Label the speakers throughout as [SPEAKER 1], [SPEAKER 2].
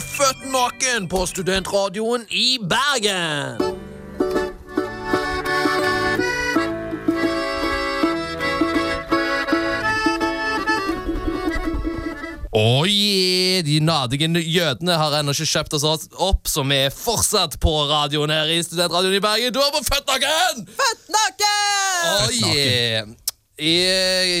[SPEAKER 1] født naken på Studentradioen i Bergen. Oh yeah, de nadige jødene har ennå ikke kjøpt oss opp, så vi er fortsatt på radioen her i Studentradioen i Bergen. Du er på født naken!
[SPEAKER 2] Født naken!
[SPEAKER 1] Oh yeah. I,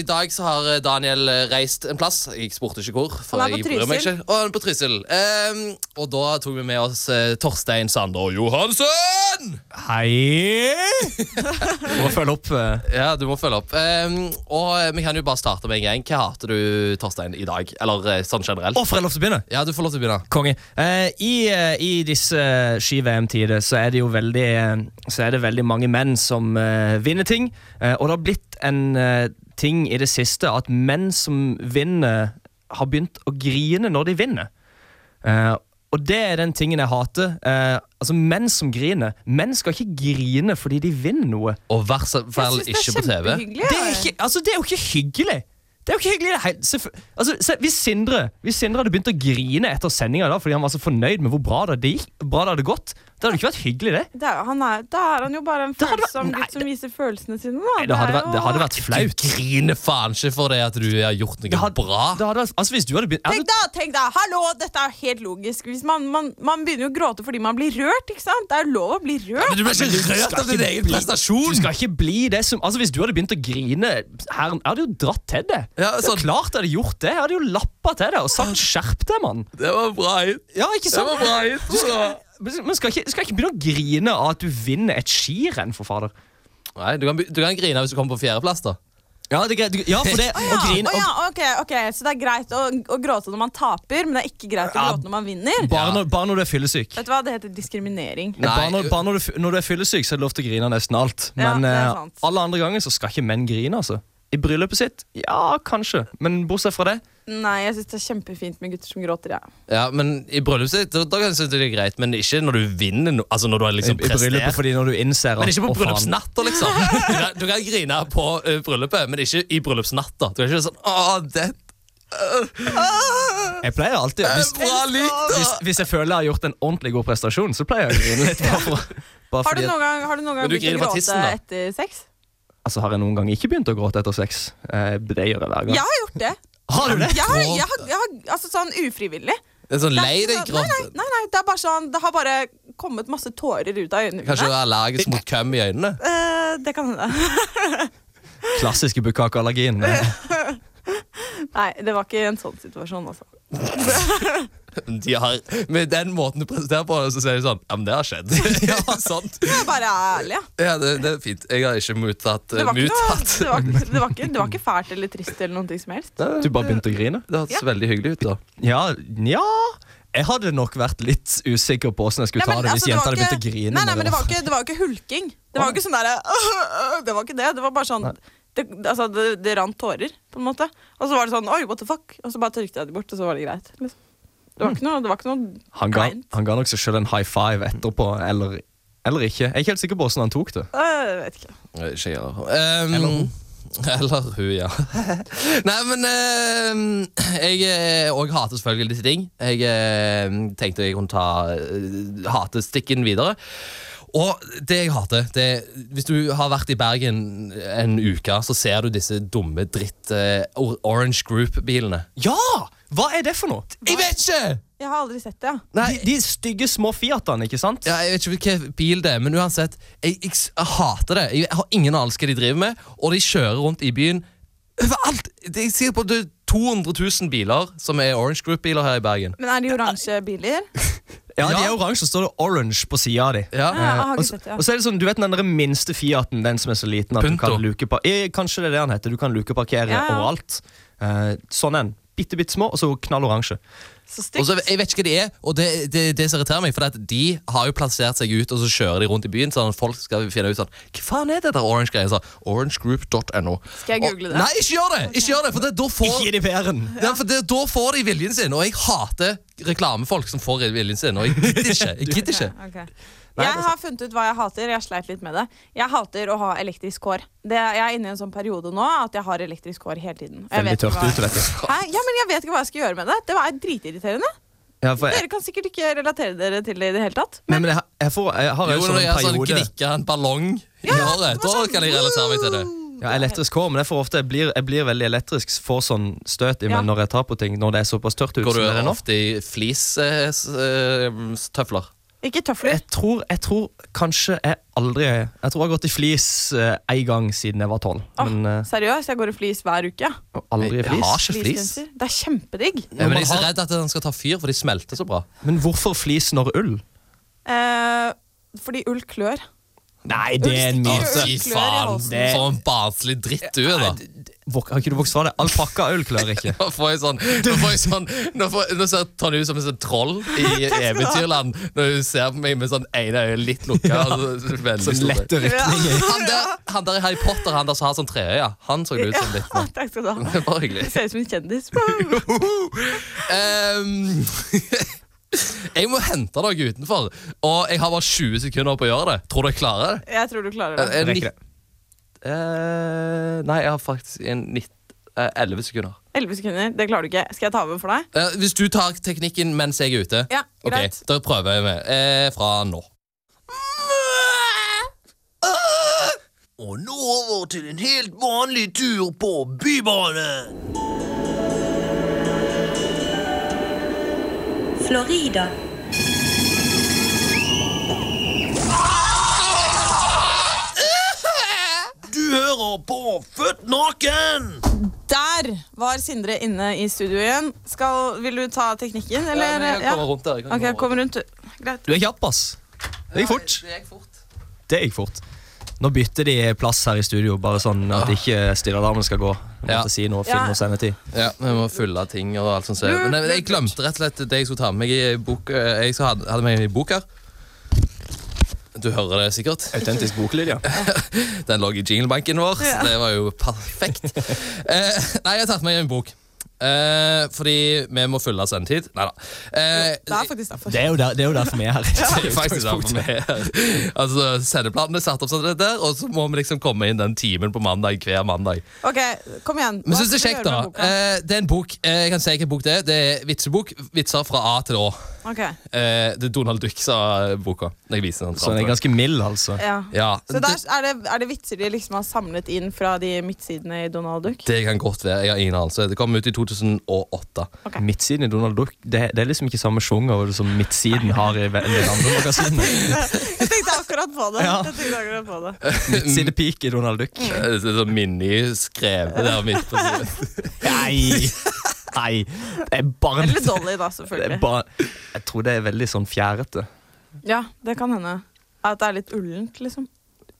[SPEAKER 1] I dag så har Daniel reist en plass. Jeg spurte ikke hvor. for
[SPEAKER 2] Han er på
[SPEAKER 1] jeg bryr meg
[SPEAKER 2] Trysil.
[SPEAKER 1] ikke. Og han er på Trysil. Ehm, og da tok vi med oss eh, Torstein Sander Johansen!
[SPEAKER 3] Hei! Du må følge opp. eh.
[SPEAKER 1] Ja, du må følge opp. Ehm, og vi kan jo bare starte med en gang. Hva hater du, Torstein, i dag? Eller eh, sånn generelt?
[SPEAKER 3] Å, får jeg lov til å begynne?
[SPEAKER 1] Ja, du får lov til å begynne.
[SPEAKER 3] Konge. Eh, i, eh, I disse eh, ski-VM-tider så er det jo veldig eh, Så er det veldig mange menn som eh, vinner ting. Eh, og det har blitt en eh, ting i det siste at menn som vinner, har begynt å grine når de vinner. Eh, og det er den tingen jeg hater. Eh, altså Menn som griner. Menn skal ikke grine fordi de vinner noe.
[SPEAKER 1] Og vær så vel
[SPEAKER 2] Jeg synes
[SPEAKER 1] ikke på
[SPEAKER 2] det er
[SPEAKER 1] TV.
[SPEAKER 2] kjempehyggelig.
[SPEAKER 3] Det er, ikke, altså, det er jo ikke hyggelig. Det er jo ikke hyggelig. i Det hele- selvfø- altså, se, hvis, Sindre, hvis Sindre hadde begynt å grine etter sendinga fordi han var så fornøyd med hvor bra det, gikk, bra det hadde gått, det hadde ikke vært hyggelig, det.
[SPEAKER 2] Det er, han er, da er han jo bare en
[SPEAKER 3] Det hadde vært-
[SPEAKER 2] følsom
[SPEAKER 3] nei,
[SPEAKER 2] gutt som viser følelsene sine. Da.
[SPEAKER 3] Nei, det, hadde
[SPEAKER 2] er
[SPEAKER 3] vært, det
[SPEAKER 2] jo-
[SPEAKER 3] hadde vært flaut.
[SPEAKER 1] Du griner faen ikke for det at du har gjort noe
[SPEAKER 3] Det hadde,
[SPEAKER 1] bra.
[SPEAKER 3] det hadde vært, altså, hvis du hadde begynt
[SPEAKER 2] Tenk da, tenk da, hallo, dette er helt logisk. Hvis man, man, man begynner jo å gråte fordi man blir rørt. ikke sant? Det er lov å bli rørt.
[SPEAKER 1] Men du ble ikke rørt
[SPEAKER 3] skal
[SPEAKER 1] av din
[SPEAKER 3] ikke
[SPEAKER 1] egen
[SPEAKER 3] bli- Du
[SPEAKER 1] prestasjon!
[SPEAKER 3] skal ikke bli det som Altså Hvis du hadde begynt å grine her, Jeg hadde jo dratt til det.
[SPEAKER 1] Ja,
[SPEAKER 3] det
[SPEAKER 1] sånn.
[SPEAKER 3] er klart jeg hadde gjort det. Jeg hadde jo lappa til det og sagt 'skjerp deg, mann'.
[SPEAKER 1] Det var bra hit.
[SPEAKER 3] Ja, ikke
[SPEAKER 1] Det
[SPEAKER 3] sant?
[SPEAKER 1] var bra hit.
[SPEAKER 3] Men skal ikke, skal ikke begynne å grine av at du vinner et skirenn, for fader.
[SPEAKER 1] Nei, du kan, du kan grine hvis du kommer på fjerdeplass, da.
[SPEAKER 3] Ja, det, er greit. Du- ja for det å grine
[SPEAKER 2] Å ja,
[SPEAKER 3] og,
[SPEAKER 2] ok, ok, Så det er greit å, å gråte når man taper, men det er ikke greit å
[SPEAKER 3] Ja.
[SPEAKER 2] gråte når man vinner?
[SPEAKER 3] bare, når, bare når du er fyllesyk.
[SPEAKER 2] Vet du hva, det heter diskriminering.
[SPEAKER 1] Nei.
[SPEAKER 3] Bare, når, bare når, du, f- når du er fyllesyk, så er det lov til å grine av nesten alt.
[SPEAKER 2] Ja,
[SPEAKER 3] Men
[SPEAKER 2] det er
[SPEAKER 3] eh,
[SPEAKER 2] sant.
[SPEAKER 3] alle andre ganger så skal ikke menn grine, altså. I bryllupet sitt? Ja, kanskje. Men bortsett fra det
[SPEAKER 2] Nei, jeg syns det er kjempefint med gutter som gråter, jeg.
[SPEAKER 1] Ja, men I bryllupet sitt da, da kan jeg synes det er greit, men ikke når du vinner. no- Altså når du har
[SPEAKER 3] i,
[SPEAKER 1] liksom
[SPEAKER 3] i bryllupet
[SPEAKER 1] prestert.
[SPEAKER 3] fordi når du innser
[SPEAKER 1] Men ikke på
[SPEAKER 3] «Å, faen».
[SPEAKER 1] bryllupsnatta, liksom. Du kan, du kan grine på eh, bryllupet, men ikke i bryllupsnatta. Du er ikke sånn Åh, det
[SPEAKER 3] Jeg pleier alltid hvis,
[SPEAKER 1] er bra likt, da!
[SPEAKER 3] hvis, hvis jeg føler jeg har gjort en ordentlig god prestasjon, så pleier jeg å grine litt. Bare for, bare
[SPEAKER 2] Har du
[SPEAKER 3] fordi at,
[SPEAKER 2] noen gang, har du noen
[SPEAKER 1] Men
[SPEAKER 2] gang
[SPEAKER 1] du
[SPEAKER 2] begynt å
[SPEAKER 1] griner på
[SPEAKER 2] gråte
[SPEAKER 1] tissen, da.
[SPEAKER 2] etter sex?
[SPEAKER 3] altså, har jeg noen gang ikke begynt å gråte etter sex? Eh, det gjør jeg hver gang.
[SPEAKER 2] Jeg har gjort det.
[SPEAKER 3] Har du det?
[SPEAKER 2] Jeg har, jeg har, jeg har, altså sånn ufrivillig.
[SPEAKER 1] det er sånn
[SPEAKER 2] Det er
[SPEAKER 1] lei
[SPEAKER 2] ikke
[SPEAKER 1] deg
[SPEAKER 2] sånn- nei, nei,
[SPEAKER 1] gråt.
[SPEAKER 2] nei, nei, det er bare sånn Det har bare kommet masse tårer ut av øynene
[SPEAKER 1] Kanskje du
[SPEAKER 2] mine.
[SPEAKER 1] er allergisk mot køm i øynene.
[SPEAKER 2] Eh, det kan hende.
[SPEAKER 3] Klassiske bukkakeallergien. men-
[SPEAKER 2] Nei, det var ikke en sånn situasjon, altså.
[SPEAKER 1] De har, med den måten du presenterer på, så sier de sånn Ja, men det har skjedd. ja, sant.
[SPEAKER 2] Jeg er bare ærlig, jeg.
[SPEAKER 1] Ja, det, det er fint. Jeg har ikke mottatt
[SPEAKER 2] Det
[SPEAKER 1] eh,
[SPEAKER 2] var, ikke noe,
[SPEAKER 1] mottatt.
[SPEAKER 2] det, var, ikke- det, var ikke, det var ikke fælt eller trist eller noe som helst.
[SPEAKER 3] Du bare begynte å grine?
[SPEAKER 1] Det hørtes veldig hyggelig ut, da.
[SPEAKER 3] Ja, nja Jeg hadde nok vært litt usikker på hvordan jeg skulle ta det hvis
[SPEAKER 2] altså, det
[SPEAKER 3] jenta
[SPEAKER 2] var
[SPEAKER 3] hadde begynt å
[SPEAKER 2] ikke-
[SPEAKER 3] grine.
[SPEAKER 2] Nei, nei,
[SPEAKER 3] når
[SPEAKER 2] men det var ikke, det var jo ikke hulking. Det var jo ikke sånn derre «Åh, åh», Det var ikke det. Det var bare sånn det, altså, det, det rant tårer, på en måte. Og så var det sånn Oi, what the fuck? Og så bare tørket jeg det bort, og så var det greit. Liksom. Det var ikke noe, det var ikke noe
[SPEAKER 3] han, ga,
[SPEAKER 2] kleint.
[SPEAKER 3] han ga nok seg selv en high five etterpå, eller, eller ikke. Jeg er ikke helt sikker på hvordan han tok det.
[SPEAKER 2] Øh, Jeg vet ikke.
[SPEAKER 1] Nei, Ikke jeg heller. Ehm,
[SPEAKER 3] Eller hun.
[SPEAKER 1] Eller hun, ja. Nei, men ehm, Jeg òg hater selvfølgelig disse ting. Jeg ehm, tenkte jeg kunne ta eh, hatestikken videre. Og det jeg hater, det er Hvis du har vært i Bergen en uke, så ser du disse dumme dritt eh, Or- Orange Group-bilene.
[SPEAKER 3] Ja! Hva er det for noe?
[SPEAKER 1] Jeg vet ikke!
[SPEAKER 2] Jeg har aldri sett det, ja.
[SPEAKER 3] De, de stygge små Fiatene, ikke sant?
[SPEAKER 1] Ja, jeg vet ikke hvilken bil det er, men uansett, jeg, jeg, s- jeg hater det. Jeg har ingen anelse hva de driver med, og de kjører rundt i byen overalt. Det- Jeg sier på det er 200 000 biler som er Orange Group-biler her i Bergen.
[SPEAKER 2] Men er de oransje biler?
[SPEAKER 3] Ja, de
[SPEAKER 1] Ja.
[SPEAKER 3] er oransje, og står det orange på sida av de.
[SPEAKER 1] Ja.
[SPEAKER 2] Ah,
[SPEAKER 1] Eh,
[SPEAKER 2] jeg har
[SPEAKER 3] og,
[SPEAKER 2] ikke
[SPEAKER 3] så,
[SPEAKER 2] sett det, ja.
[SPEAKER 3] og så er det sånn, du vet den der minste Fiaten, den som er så liten at
[SPEAKER 1] Punto.
[SPEAKER 3] du kan luke eh, Kanskje det er det han heter, du kan lukeparkere
[SPEAKER 2] Ja, ja.
[SPEAKER 3] overalt. Eh, sånn en. Bitte, bitte små, og så knall oransje.
[SPEAKER 2] Så
[SPEAKER 1] Og
[SPEAKER 2] stygt.
[SPEAKER 1] så, jeg vet ikke hva de er, og det, det, det som irriterer meg, for at de har jo plassert seg ut, og så kjører de rundt i byen, sånn at folk skal finne ut sånn Hva faen er det der orange-greia? Så, Orangegroup.no.
[SPEAKER 2] Skal jeg google det?
[SPEAKER 1] Og- Nei, ikke gjør det! Ikke gjør det, for det, da får
[SPEAKER 3] Ikke i pæren!
[SPEAKER 1] Ja, for det, Da får de viljen sin, og jeg hater reklamefolk som får viljen sin. Og jeg gidder ikke. Jeg gidder ikke.
[SPEAKER 2] Ok, ok.
[SPEAKER 3] Nei, altså-
[SPEAKER 2] Jeg
[SPEAKER 3] det er
[SPEAKER 2] har funnet ut hva jeg hater. Jeg sleit litt med det. Jeg hater å ha elektrisk hår. Det, jeg er inne i en sånn periode nå at jeg har elektrisk hår hele tiden. Og jeg
[SPEAKER 3] Veldig
[SPEAKER 2] vet ikke
[SPEAKER 3] tørt
[SPEAKER 2] hva-
[SPEAKER 3] ut, vet du.
[SPEAKER 2] Hæ? Ja, men jeg vet ikke hva jeg skal gjøre med det. Det var dritirriterende.
[SPEAKER 3] Ja, for jeg,
[SPEAKER 2] Dere kan sikkert ikke relatere dere til det i det hele tatt.
[SPEAKER 3] nei, men jeg, har- jeg, får, jeg har
[SPEAKER 1] Jo,
[SPEAKER 3] jo
[SPEAKER 1] når
[SPEAKER 3] sånn
[SPEAKER 1] jeg
[SPEAKER 3] en
[SPEAKER 1] sånn
[SPEAKER 3] periode
[SPEAKER 1] knikker en ballong i håret, da kan jeg relatere meg til det.
[SPEAKER 3] ja, elektrisk hår, men jeg, får ofte, jeg, blir, jeg blir veldig elektrisk, får sånn støt i meg
[SPEAKER 2] Ja.
[SPEAKER 3] når jeg tar på ting. Når det er såpass tørt ut
[SPEAKER 1] Går
[SPEAKER 3] som det er
[SPEAKER 1] du
[SPEAKER 3] nå.
[SPEAKER 1] ofte i eh, flistøfler?
[SPEAKER 2] Ikke tøfler.
[SPEAKER 3] Jeg tror, jeg tror kanskje jeg aldri Jeg tror jeg har gått i flis eh, en gang siden jeg var tolv.
[SPEAKER 2] Åh,
[SPEAKER 3] Men eh,
[SPEAKER 2] Seriøst, jeg går i flis hver uke. ja.
[SPEAKER 3] aldri i
[SPEAKER 1] Jeg har
[SPEAKER 3] flis.
[SPEAKER 1] ikke flis.
[SPEAKER 2] Fleecegenser. Det er kjempedigg.
[SPEAKER 1] Ja, men jeg er så
[SPEAKER 3] Når man har-
[SPEAKER 1] redd at den skal ta fyr, for de smelter så bra.
[SPEAKER 3] Men hvorfor flis når ull?
[SPEAKER 2] Eh, fordi ull klør.
[SPEAKER 3] Nei,
[SPEAKER 2] det er en
[SPEAKER 1] Å,
[SPEAKER 2] myte.
[SPEAKER 1] fy
[SPEAKER 2] Klør i
[SPEAKER 1] faen,
[SPEAKER 2] halsen.
[SPEAKER 1] for en Sånn barnslig dritt du er, da.
[SPEAKER 3] Har ikke du vokst fra det? Alpakkaull klør ikke.
[SPEAKER 1] Nå får jeg sånn Nå, får jeg sånn, nå, får, nå ser Tonje ut som en sånn troll i Eventyrland når hun ser på meg med sånn ene øye litt lukka. Altså, veldig
[SPEAKER 3] Sånn
[SPEAKER 1] stor.
[SPEAKER 3] lette
[SPEAKER 2] Ja.
[SPEAKER 3] rykninger.
[SPEAKER 1] han, der, han der i Harry Potter, han der som har sånn treøye, han så det ut som litt nå.
[SPEAKER 2] Takk skal du ha.
[SPEAKER 1] Det var
[SPEAKER 2] Du
[SPEAKER 1] hyggelig.
[SPEAKER 2] ser ut som en kjendis.
[SPEAKER 1] Ehm, jeg må hente noe utenfor, og jeg har bare 20 sekunder på å gjøre det. Tror du jeg klarer det?
[SPEAKER 2] Jeg tror du klarer
[SPEAKER 1] Jeg-
[SPEAKER 2] det.
[SPEAKER 1] jeg-
[SPEAKER 3] Rekker det.
[SPEAKER 1] Eh, nei, jeg har faktisk en 19, eh, 11 sekunder.
[SPEAKER 2] Elleve sekunder. Det klarer du ikke. Skal jeg ta over for deg?
[SPEAKER 1] Eh, hvis du tar teknikken mens jeg er ute,
[SPEAKER 2] Ja,
[SPEAKER 1] Ok,
[SPEAKER 2] greit.
[SPEAKER 1] da prøver jeg med. Eh, fra nå.
[SPEAKER 4] Og nå over til en helt vanlig tur på Bybanen.
[SPEAKER 5] Florida.
[SPEAKER 4] Du hører på Født naken!
[SPEAKER 2] Der var Sindre inne i studio igjen. Skal, vil du ta teknikken, eller?
[SPEAKER 1] jeg
[SPEAKER 2] Ja.
[SPEAKER 1] kommer rundt der. Jeg kan
[SPEAKER 2] Ok,
[SPEAKER 1] komme
[SPEAKER 2] kom rundt. du. Greit.
[SPEAKER 3] Du er kjapp, ass. Det gikk fort.
[SPEAKER 1] Det gikk fort.
[SPEAKER 3] Det gikk fort. Nå bytter de plass her i studio, bare sånn at ikke styrealarmen skal gå. Jeg
[SPEAKER 1] Ja.
[SPEAKER 3] Måtte si noe,
[SPEAKER 2] Ja.
[SPEAKER 3] film og sendetid.
[SPEAKER 1] Ja, vi må fylle av ting og alt sånt. som er. Men jeg, jeg glemte rett og slett det jeg skulle ta med meg i bok. eh, Jeg skal ha- hadde med meg i bok her. Du hører det sikkert.
[SPEAKER 3] Autentisk boklyd, ja.
[SPEAKER 1] Den lå i jinglebanken vår,
[SPEAKER 2] Ja.
[SPEAKER 1] så det var jo perfekt. Eh, nei, jeg har tatt med meg en bok. Eh, fordi vi må fylle av sendetid. Nei da. Eh,
[SPEAKER 2] Det er faktisk derfor.
[SPEAKER 3] Det er jo, der, det er jo derfor vi er her.
[SPEAKER 1] det er faktisk derfor vi er her. Altså, Sendeplanen er satt opp sånn, det der, og så må vi liksom komme inn den timen på mandag hver mandag.
[SPEAKER 2] Ok, kom
[SPEAKER 1] Men
[SPEAKER 2] igjen. Hva
[SPEAKER 1] synes det er
[SPEAKER 2] skal
[SPEAKER 1] kjekt,
[SPEAKER 2] du gjøre
[SPEAKER 1] da.
[SPEAKER 2] med boka?
[SPEAKER 1] Eh, det er en bok. Eh, jeg kan si hvilken bok det er. Det er vitsebok. Vitser fra A til Å.
[SPEAKER 2] Ok,
[SPEAKER 1] Eh, det er Donald Duck sa boka. Når jeg viser den frem
[SPEAKER 3] Så den Sånn, er
[SPEAKER 1] til deg.
[SPEAKER 3] ganske mild, altså.
[SPEAKER 2] ja.
[SPEAKER 1] ja,
[SPEAKER 2] Så der
[SPEAKER 1] det,
[SPEAKER 2] er det, er det vitser de liksom har samlet inn fra de midtsidene i Donald Duck?
[SPEAKER 1] det kan godt være. Jeg har ingen anelse. Det kom ut i 2008.
[SPEAKER 2] Ok.
[SPEAKER 3] Midtsiden i Donald Duck det, det er liksom ikke samme sjanger som midtsiden har i ve- en del andre magasiner.
[SPEAKER 2] Jeg tenkte akkurat på det.
[SPEAKER 3] Ja.
[SPEAKER 2] Jeg tenkte akkurat på det.
[SPEAKER 3] Midtsidepeak i Donald Duck.
[SPEAKER 1] Eh, Det er sånn mini-skrevet der midt på siden.
[SPEAKER 3] Nei! Nei. Det er bare
[SPEAKER 2] Eller Dolly, da,
[SPEAKER 3] det er
[SPEAKER 2] selvfølgelig.
[SPEAKER 3] bare, Jeg tror det er veldig sånn fjærete.
[SPEAKER 2] Ja, det kan hende. At det er litt ullent, liksom.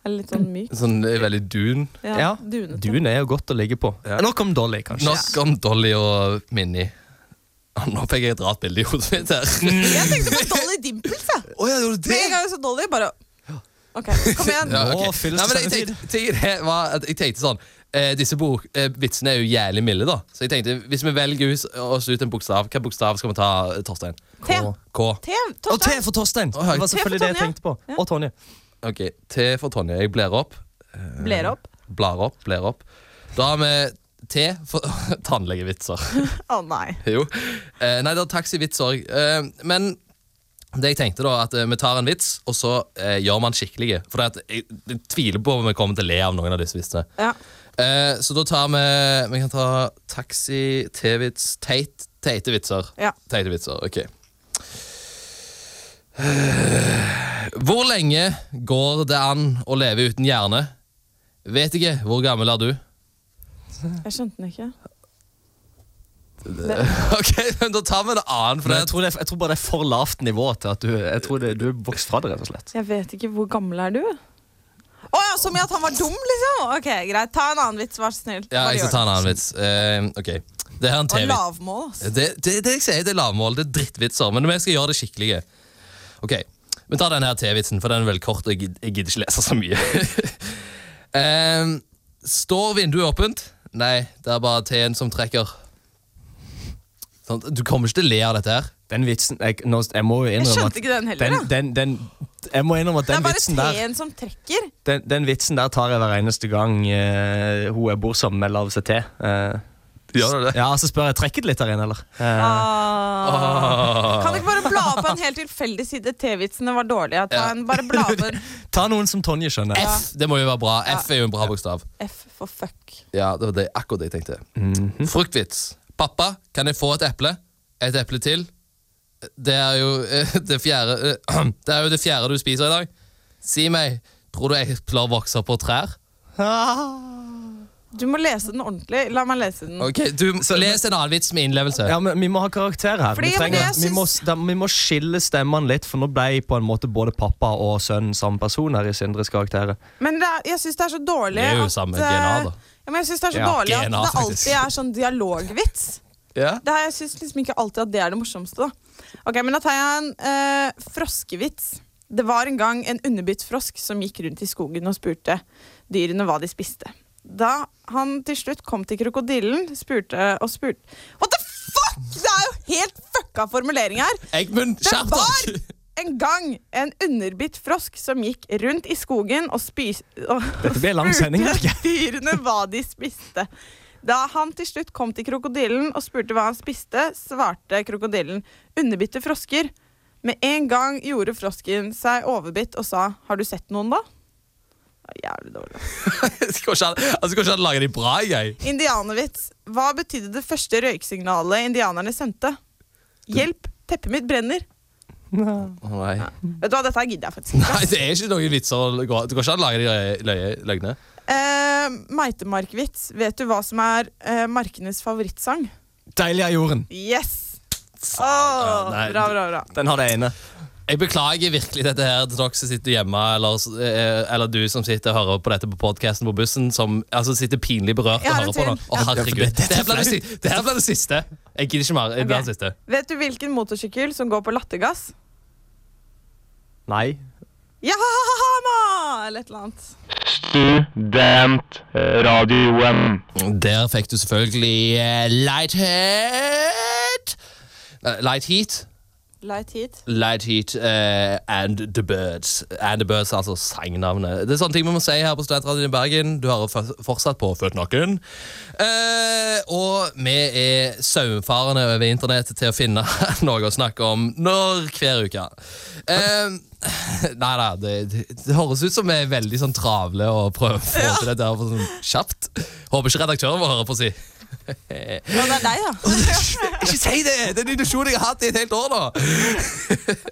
[SPEAKER 2] Eller litt sånn myk.
[SPEAKER 1] Sånn eh, veldig dun.
[SPEAKER 2] Ja, Dunete.
[SPEAKER 3] Dune er jo godt å ligge på. Nok om Dolly, kanskje.
[SPEAKER 1] Nok om Dolly og Minnie. Å, Nå fikk jeg et rart bilde i hodet mitt her.
[SPEAKER 2] Jeg tenkte på Dolly Dimples, jeg.
[SPEAKER 1] Å ja, gjorde du
[SPEAKER 2] Med en gang jeg så Dolly, bare OK, kom igjen.
[SPEAKER 1] Ja,
[SPEAKER 3] Nå
[SPEAKER 1] ok.
[SPEAKER 3] fylles
[SPEAKER 1] Nei,
[SPEAKER 3] det
[SPEAKER 1] men jeg
[SPEAKER 3] sendetid.
[SPEAKER 1] tenkte, tingen er- var at jeg tenkte sånn eh, Disse bok, eh, vitsene er jo jævlig milde, da. Så jeg tenkte, hvis vi velger us- oss ut en bokstav, hvilken bokstav skal vi ta, eh, Torstein?
[SPEAKER 2] T.
[SPEAKER 1] K.
[SPEAKER 2] T.
[SPEAKER 3] Og T
[SPEAKER 2] Torstein.
[SPEAKER 3] for Torstein! Det
[SPEAKER 1] hei.
[SPEAKER 3] var
[SPEAKER 2] T for
[SPEAKER 3] selvfølgelig det jeg
[SPEAKER 2] Tonje.
[SPEAKER 3] tenkte på. Og Tonje.
[SPEAKER 1] Ok, T for Tonje. Jeg bler opp.
[SPEAKER 2] Bler opp.
[SPEAKER 1] Blar opp, bler opp. Da har vi T for tannlegevitser.
[SPEAKER 2] Å nei.
[SPEAKER 1] jo. Eh, nei, det er taxivits òg. Eh, men det jeg tenkte da, at eh, vi tar en vits, og så eh, gjør man skikkelige. For det at jeg, jeg tviler på om vi kommer til å le av noen av disse vitsene.
[SPEAKER 2] Ja.
[SPEAKER 1] Eh, så da tar vi Vi kan ta taxi, T-vits, teit, teite vitser.
[SPEAKER 2] Ja.
[SPEAKER 1] Teite vitser, ok. Eh, Hvor lenge går det an å leve uten hjerne? Vet ikke. Hvor gammel er du?
[SPEAKER 2] Jeg skjønte den ikke.
[SPEAKER 1] Ok, men Da tar vi en annen. For
[SPEAKER 3] Men
[SPEAKER 1] det
[SPEAKER 3] jeg, tror det er, jeg tror bare det er for lavt nivå til at du Jeg tror det, du er vokst fra det, rett og slett.
[SPEAKER 2] Jeg vet ikke. Hvor gammel er du? Å ja, som i at han var dum, liksom? Ok, Greit. Ta en annen vits, vær så snill.
[SPEAKER 1] Ja,
[SPEAKER 2] Bare
[SPEAKER 1] jeg skal
[SPEAKER 2] gjør
[SPEAKER 1] ta en annen vits. Eh, ok, Det her er en
[SPEAKER 2] det. Og
[SPEAKER 1] TV.
[SPEAKER 2] lavmål, ass.
[SPEAKER 1] Det, det, det jeg sier, det er lavmål. Det er drittvitser. Men vi skal gjøre det skikkelige. Ok, Vi tar denne her TV-vitsen, for den er veldig kort, og jeg gid- jeg gidder ikke lese så mye. Eh, står vinduet åpent? Nei, det er bare T-en som trekker. Sånn, Du kommer ikke til å le av dette her.
[SPEAKER 3] Den vitsen Jeg, nå, jeg må jo
[SPEAKER 2] Jeg
[SPEAKER 3] innrømme at
[SPEAKER 2] skjønte ikke den heller,
[SPEAKER 3] den,
[SPEAKER 2] da.
[SPEAKER 3] den, den, Jeg må innrømme at
[SPEAKER 2] Det
[SPEAKER 3] den
[SPEAKER 2] er bare
[SPEAKER 3] vitsen der
[SPEAKER 2] T-en som trekker.
[SPEAKER 3] den, den vitsen der tar jeg hver eneste gang eh, hun jeg bor sammen med, laver seg til. Eh,
[SPEAKER 1] Gjør du det?
[SPEAKER 3] Ja, så spør jeg trekket litt der inne, eller? Eh,
[SPEAKER 2] Ah. Kan du ikke bare bla på en helt tilfeldig side? T-vitsene var dårlige. Ta
[SPEAKER 1] Ah. Ja.
[SPEAKER 2] en, bare bla på en
[SPEAKER 3] ta noen som Tonje skjønner.
[SPEAKER 1] F, det må jo være bra. F er jo en bra bokstav.
[SPEAKER 2] F for fuck.
[SPEAKER 1] Ja, det var det, akkurat det jeg tenkte.
[SPEAKER 3] Mhm.
[SPEAKER 1] Fruktvits. Pappa, kan jeg få et eple? Et eple til? Det er jo eh, det fjerde eh, Det er jo det fjerde du spiser i dag. Si meg, tror du epler vokser på trær?
[SPEAKER 3] Ah.
[SPEAKER 2] Du må lese den ordentlig. La meg lese den.
[SPEAKER 1] Ok, du Les en annen vits med innlevelse.
[SPEAKER 3] Ja, men Vi må ha karakter her.
[SPEAKER 2] Fordi,
[SPEAKER 3] Vi,
[SPEAKER 2] ja, men
[SPEAKER 3] trenger,
[SPEAKER 2] jeg
[SPEAKER 3] vi, må,
[SPEAKER 2] syns-
[SPEAKER 3] da, vi må skille stemmene litt, for nå ble på en måte både pappa og sønnen samme person her i Sindres karakterer.
[SPEAKER 2] Men det er, jeg syns det er så dårlig
[SPEAKER 1] Det er jo
[SPEAKER 2] at,
[SPEAKER 1] samme
[SPEAKER 2] eh,
[SPEAKER 1] DNA, da.
[SPEAKER 2] Ja, men jeg synes det er så
[SPEAKER 3] Ja,
[SPEAKER 2] dårlig
[SPEAKER 1] DNA,
[SPEAKER 2] at det
[SPEAKER 1] faktisk.
[SPEAKER 2] alltid er sånn dialogvits.
[SPEAKER 1] Ja.
[SPEAKER 2] Det her, jeg syns liksom ikke alltid at det er det morsomste. Da. Ok, Men da tar jeg en eh, froskevits. Det var en gang en underbitt frosk som gikk rundt i skogen og spurte dyrene hva de spiste. Da han til slutt kom til krokodillen, spurte og spurte What the fuck?! Det er jo helt fucka formulering her!
[SPEAKER 1] Eggmund,
[SPEAKER 2] Det
[SPEAKER 1] skjerp
[SPEAKER 2] var
[SPEAKER 1] deg!
[SPEAKER 2] en gang en underbitt frosk som gikk rundt i skogen og, spis, og
[SPEAKER 3] Dette blir en lang sending, merker
[SPEAKER 2] spurte dyrene hva de spiste. Da han til slutt kom til krokodillen og spurte hva han spiste, svarte krokodillen underbitte frosker. Med en gang gjorde frosken seg overbitt og sa 'har du sett noen', da? Det er Jævlig dårlig.
[SPEAKER 1] Det går ikke an- altså, det går ikke an å lage de bra, jeg.
[SPEAKER 2] Indianervits. Hva betydde det første røyksignalet indianerne sendte? Hjelp, teppet mitt brenner.
[SPEAKER 1] Nei.
[SPEAKER 2] Vet du hva, dette her gidder jeg faktisk ikke. ass.
[SPEAKER 1] Nei, det er ikke noen vitser å gå Det går ikke an å lage de løye- løye- løgnene.
[SPEAKER 2] Eh, Meitemarkvits. Vet du hva som er eh, markenes favorittsang?
[SPEAKER 3] Deilig av jorden.
[SPEAKER 2] Yes!
[SPEAKER 1] ja,
[SPEAKER 2] Åh,
[SPEAKER 1] nei,
[SPEAKER 2] bra, bra, bra.
[SPEAKER 3] Den har det ene.
[SPEAKER 1] Jeg beklager virkelig dette her til dere som sitter hjemme, eller, eh, eller du som sitter og hører på dette på podcasten på bussen, som altså, sitter pinlig berørt og
[SPEAKER 2] Ja,
[SPEAKER 1] hører på nå.
[SPEAKER 2] det er
[SPEAKER 1] Å, herregud.
[SPEAKER 3] det- dette
[SPEAKER 1] Det her ble det si- det her ble det siste. Jeg gidder ikke mer. Det ble
[SPEAKER 2] Ok.
[SPEAKER 1] det siste.
[SPEAKER 2] Vet du hvilken motorsykkel som går på lattergass?
[SPEAKER 3] Nei.
[SPEAKER 2] Jahahahama! Eller et eller annet.
[SPEAKER 5] Studentradioen.
[SPEAKER 1] Der fikk du selvfølgelig eh, Light Heat. Eh, Light Heat.
[SPEAKER 2] Light heat.
[SPEAKER 1] Light Heat eh, and The Birds. And The Birds er altså sangnavnet. Det er sånne ting vi må si her på Studentradioen i Bergen. Du hører for- fortsatt på Født naken. Eh, og vi er saumfarende over internett til å finne noe å snakke om når hver uke. Eh, nei da, det, det, det høres ut som vi er veldig sånn travle og prøver å få til dette her på sånn kjapt. Håper ikke redaktøren vår hører på si.
[SPEAKER 2] Ja, det er deg, ja.
[SPEAKER 1] Ikke si det! Det er en illusjon jeg har hatt i et helt år nå.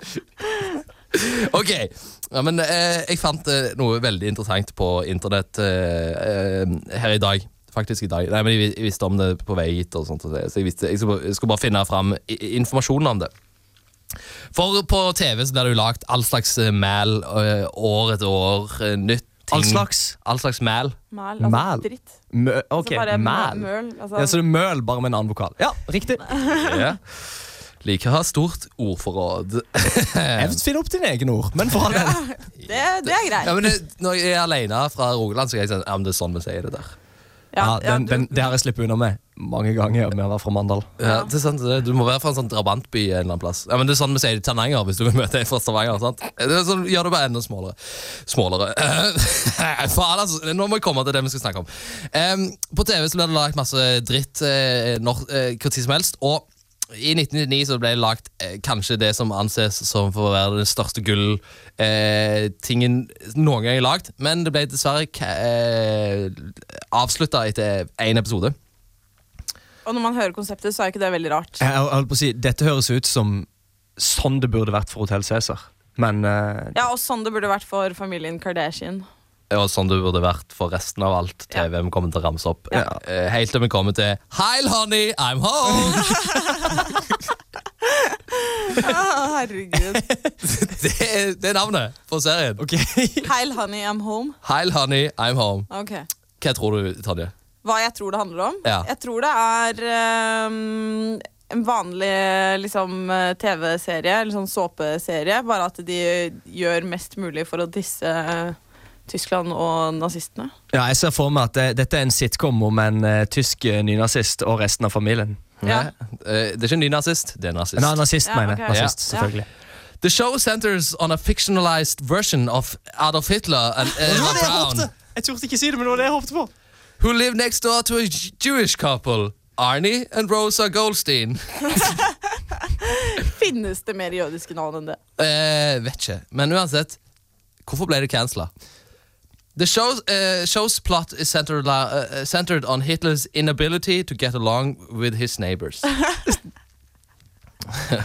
[SPEAKER 1] Ok, ja, men eh, jeg fant eh, noe veldig interessant på internett eh, eh, her i dag. Faktisk i dag. Nei, men jeg, vi- jeg visste om det på vei hit, og sånt, og det, så jeg, visste, jeg, skulle, bare- jeg skulle bare finne fram i- informasjon om det. For på TV så blir det jo lagt all slags eh, mæl eh, år etter år. eh, Nytt ting.
[SPEAKER 3] All slags?
[SPEAKER 1] All slags mæl.
[SPEAKER 2] Mæl. Altså
[SPEAKER 3] Mæl.
[SPEAKER 2] dritt.
[SPEAKER 3] Mø ok,
[SPEAKER 2] Altså bare mæ-
[SPEAKER 3] mæl.
[SPEAKER 2] Møl.
[SPEAKER 3] Ja,
[SPEAKER 2] Altså,
[SPEAKER 3] så det er møl, bare med en annen vokal. Ja, riktig.
[SPEAKER 1] Ja. Liker å ha stort ordforråd.
[SPEAKER 3] Jeg finner opp dine egne ord, men for all del.
[SPEAKER 2] det, det er greit.
[SPEAKER 1] Ja, men det, når jeg er alene fra Rogaland, så kan jeg si ja, men det er sånn vi sier det der.
[SPEAKER 2] Ja,
[SPEAKER 3] Ja,
[SPEAKER 2] ja,
[SPEAKER 3] den,
[SPEAKER 2] du-
[SPEAKER 3] den, det har jeg sluppet unna med mange ganger med å være fra Mandal.
[SPEAKER 1] Ja, det er sant, det. Du må være fra en sånn drabantby en eller annen plass. Ja, men det er sånn vi sier det i Tananger hvis du vil møte en fra Stavanger. sant? Det er sånn, Gjør det bare enda smålere. Smålere. Faen, altså. Nå må jeg komme til det vi skal snakke om. Em, på TV så blir det lagt masse dritt eh, når, eh, hvor tid som helst. og i 1999 så ble det lagt eh, kanskje det som anses som for å være den største gulltingen eh, tingen noen gang lagd, men det ble dessverre ka- eh, avslutta etter én episode.
[SPEAKER 2] Og når man hører konseptet, så er jo ikke det veldig rart.
[SPEAKER 3] Jeg, jeg holdt på å si, Dette høres ut som sånn det burde vært for Hotell Cæsar, men eh,
[SPEAKER 2] Ja, og sånn det burde vært for familien Kardashian.
[SPEAKER 1] Og sånn det burde vært for resten av alt TV vi kommer til å ramse opp.
[SPEAKER 3] Ja.
[SPEAKER 1] Eh, Helt til vi kommer til Heil honey, I'm home!
[SPEAKER 2] Ah, herregud.
[SPEAKER 1] det, er, det er navnet på serien.
[SPEAKER 3] Ok.
[SPEAKER 2] Heil honey, I'm home.
[SPEAKER 1] Heil honey, I'm home.
[SPEAKER 2] Ok.
[SPEAKER 1] Hva tror du, Tanje?
[SPEAKER 2] hva jeg tror det handler om.
[SPEAKER 1] Ja.
[SPEAKER 2] Jeg tror det er ehm, en vanlig liksom, eh, TV-serie, eller sånn såpeserie, bare at de gjør mest mulig for å disse eh, Tyskland og nazistene.
[SPEAKER 3] Ja, jeg ser for meg at det, dette er en sitcom om en eh, tysk eh, nynazist og resten av familien.
[SPEAKER 2] Ja.
[SPEAKER 1] Nei, eh, Det er ikke en ny nazist, det er en nazist.
[SPEAKER 3] En nazist,
[SPEAKER 2] Ja,
[SPEAKER 3] mener jeg.
[SPEAKER 2] ok.
[SPEAKER 3] Nazist,
[SPEAKER 2] Ja.
[SPEAKER 3] selvfølgelig.
[SPEAKER 1] The show centers on a fictionalized version of Adolf Hitler and Eva Brown,
[SPEAKER 3] Jeg turte ikke si det, men det var det jeg håpte på.
[SPEAKER 1] who live next door to a J- Jewish couple. Arnie and Rosa Goldstein.
[SPEAKER 2] Finnes det mer jødiske navn enn det?
[SPEAKER 1] Eh, vet ikke. Men uansett, hvorfor ble det cancela? The show's, eh, show's plot is centered, la- eh, centered on Hitlers inability to get along with his neighbors.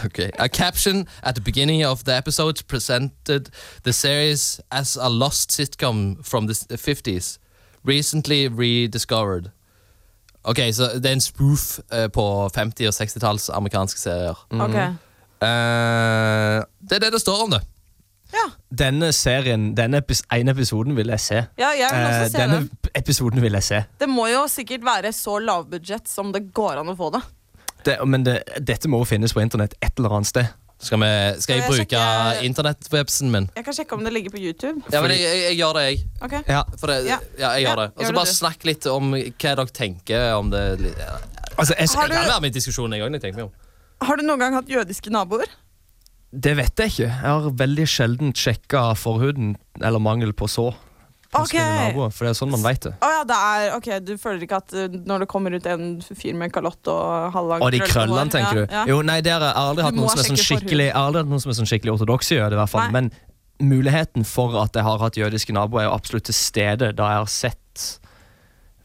[SPEAKER 1] okay. A caption at the beginning of the episode presented the series as a lost sitcom from the s- 50s, recently rediscovered. Ok, så det er en spoof eh, på 50- og 60-talls amerikanske serier.
[SPEAKER 2] Ok.
[SPEAKER 1] Eh, det er det det står om det.
[SPEAKER 2] Ja.
[SPEAKER 3] Denne serien, denne epis ene episoden vil jeg se.
[SPEAKER 2] ja, jeg vil også
[SPEAKER 3] Eh,
[SPEAKER 2] se
[SPEAKER 3] denne
[SPEAKER 2] den.
[SPEAKER 3] p- episoden vil jeg se.
[SPEAKER 2] Det må jo sikkert være så lavbudsjett som det går an å få det.
[SPEAKER 3] Det, men det, dette må jo finnes på internett et eller annet sted.
[SPEAKER 1] Skal, vi, skal Eh, jeg
[SPEAKER 2] jeg
[SPEAKER 1] bruke
[SPEAKER 2] sjekke-
[SPEAKER 1] internettwebsen min?
[SPEAKER 2] Jeg kan sjekke om det ligger på YouTube.
[SPEAKER 1] Ja, men jeg, jeg, jeg gjør det, jeg.
[SPEAKER 2] Ok.
[SPEAKER 3] Ja.
[SPEAKER 1] For det, ja.
[SPEAKER 2] Ja.
[SPEAKER 1] jeg
[SPEAKER 2] Ja,
[SPEAKER 1] gjør det. Og
[SPEAKER 2] gjør
[SPEAKER 1] så
[SPEAKER 2] det
[SPEAKER 1] bare
[SPEAKER 2] du.
[SPEAKER 1] snakk litt om hva dere tenker om det. Ja,
[SPEAKER 3] Altså, jeg,
[SPEAKER 1] Jeg
[SPEAKER 2] Har
[SPEAKER 1] kan
[SPEAKER 2] du-
[SPEAKER 1] være med i diskusjonen, jeg òg. når jeg tenker meg om.
[SPEAKER 2] Har du noen gang hatt jødiske naboer?
[SPEAKER 3] det vet jeg ikke. Jeg har veldig sjelden sjekka forhuden eller mangel på så. På
[SPEAKER 2] Ok.
[SPEAKER 3] sine naboer, for det er sånn man veit det.
[SPEAKER 2] Å ja, det er Ok, du føler ikke at uh, når det kommer ut en fyr med kalott og halvlangt
[SPEAKER 3] Og de
[SPEAKER 2] krøllete hår-
[SPEAKER 3] krøllene, tenker du?
[SPEAKER 2] ja, Ja.
[SPEAKER 3] Jo, nei, der har jeg aldri hatt
[SPEAKER 2] Du må
[SPEAKER 3] noen som er sånn
[SPEAKER 2] sjekke forhuden.
[SPEAKER 3] skikkelig Jeg har aldri hatt noen som er sånn skikkelig ortodokse jøde, i hvert fall.
[SPEAKER 2] Nei.
[SPEAKER 3] Men muligheten for at jeg har hatt jødiske naboer, er jo absolutt til stede, da jeg har sett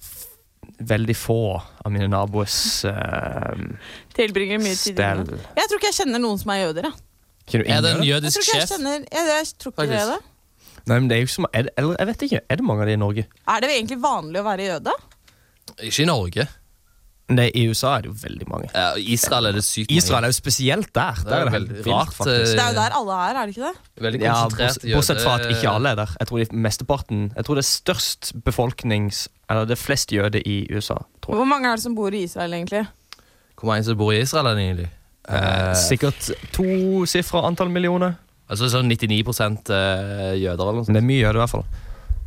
[SPEAKER 3] f- veldig få av mine naboers eh,
[SPEAKER 2] Tilbringer mye tid i
[SPEAKER 3] stell.
[SPEAKER 2] det. Jeg tror ikke jeg kjenner noen som er jøder. Jeg,
[SPEAKER 3] Kjenner du
[SPEAKER 1] Er det en
[SPEAKER 3] ingen av dem?
[SPEAKER 2] jeg
[SPEAKER 1] jødisk
[SPEAKER 2] tror ikke jeg
[SPEAKER 1] sjef?
[SPEAKER 2] kjenner Jeg, jeg tror ikke det er det.
[SPEAKER 3] Nei, men det er jo ikke som er det, Eller jeg vet ikke. Er det mange av de i Norge?
[SPEAKER 2] Er det egentlig vanlig å være jøde?
[SPEAKER 1] Ikke i Norge.
[SPEAKER 3] Nei, i USA er det jo veldig mange.
[SPEAKER 1] Ja, og Israel er det sykt mange.
[SPEAKER 3] Israel er jo spesielt der.
[SPEAKER 1] Det
[SPEAKER 3] Der
[SPEAKER 1] er
[SPEAKER 3] er det
[SPEAKER 1] veldig
[SPEAKER 3] helt
[SPEAKER 1] rart,
[SPEAKER 3] vilt, eh, faktisk.
[SPEAKER 2] Det er jo der alle er, er det ikke det?
[SPEAKER 1] Veldig
[SPEAKER 3] Ja,
[SPEAKER 1] konsentrert
[SPEAKER 3] bortsett bortsett fra at ikke alle er der. Jeg tror, de mesteparten, jeg tror det er størst befolknings... Eller det er flest jøde i USA, tror jeg.
[SPEAKER 2] Hvor mange er det som bor i Israel, egentlig?
[SPEAKER 1] Hvor mange som bor i Israel, er det egentlig?
[SPEAKER 3] Eh,
[SPEAKER 1] Eh,
[SPEAKER 3] Sikkert to sifra antall millioner.
[SPEAKER 1] altså sånn 99 eh, jøder eller noe sånt.
[SPEAKER 3] Men det er mye jøde, i hvert fall.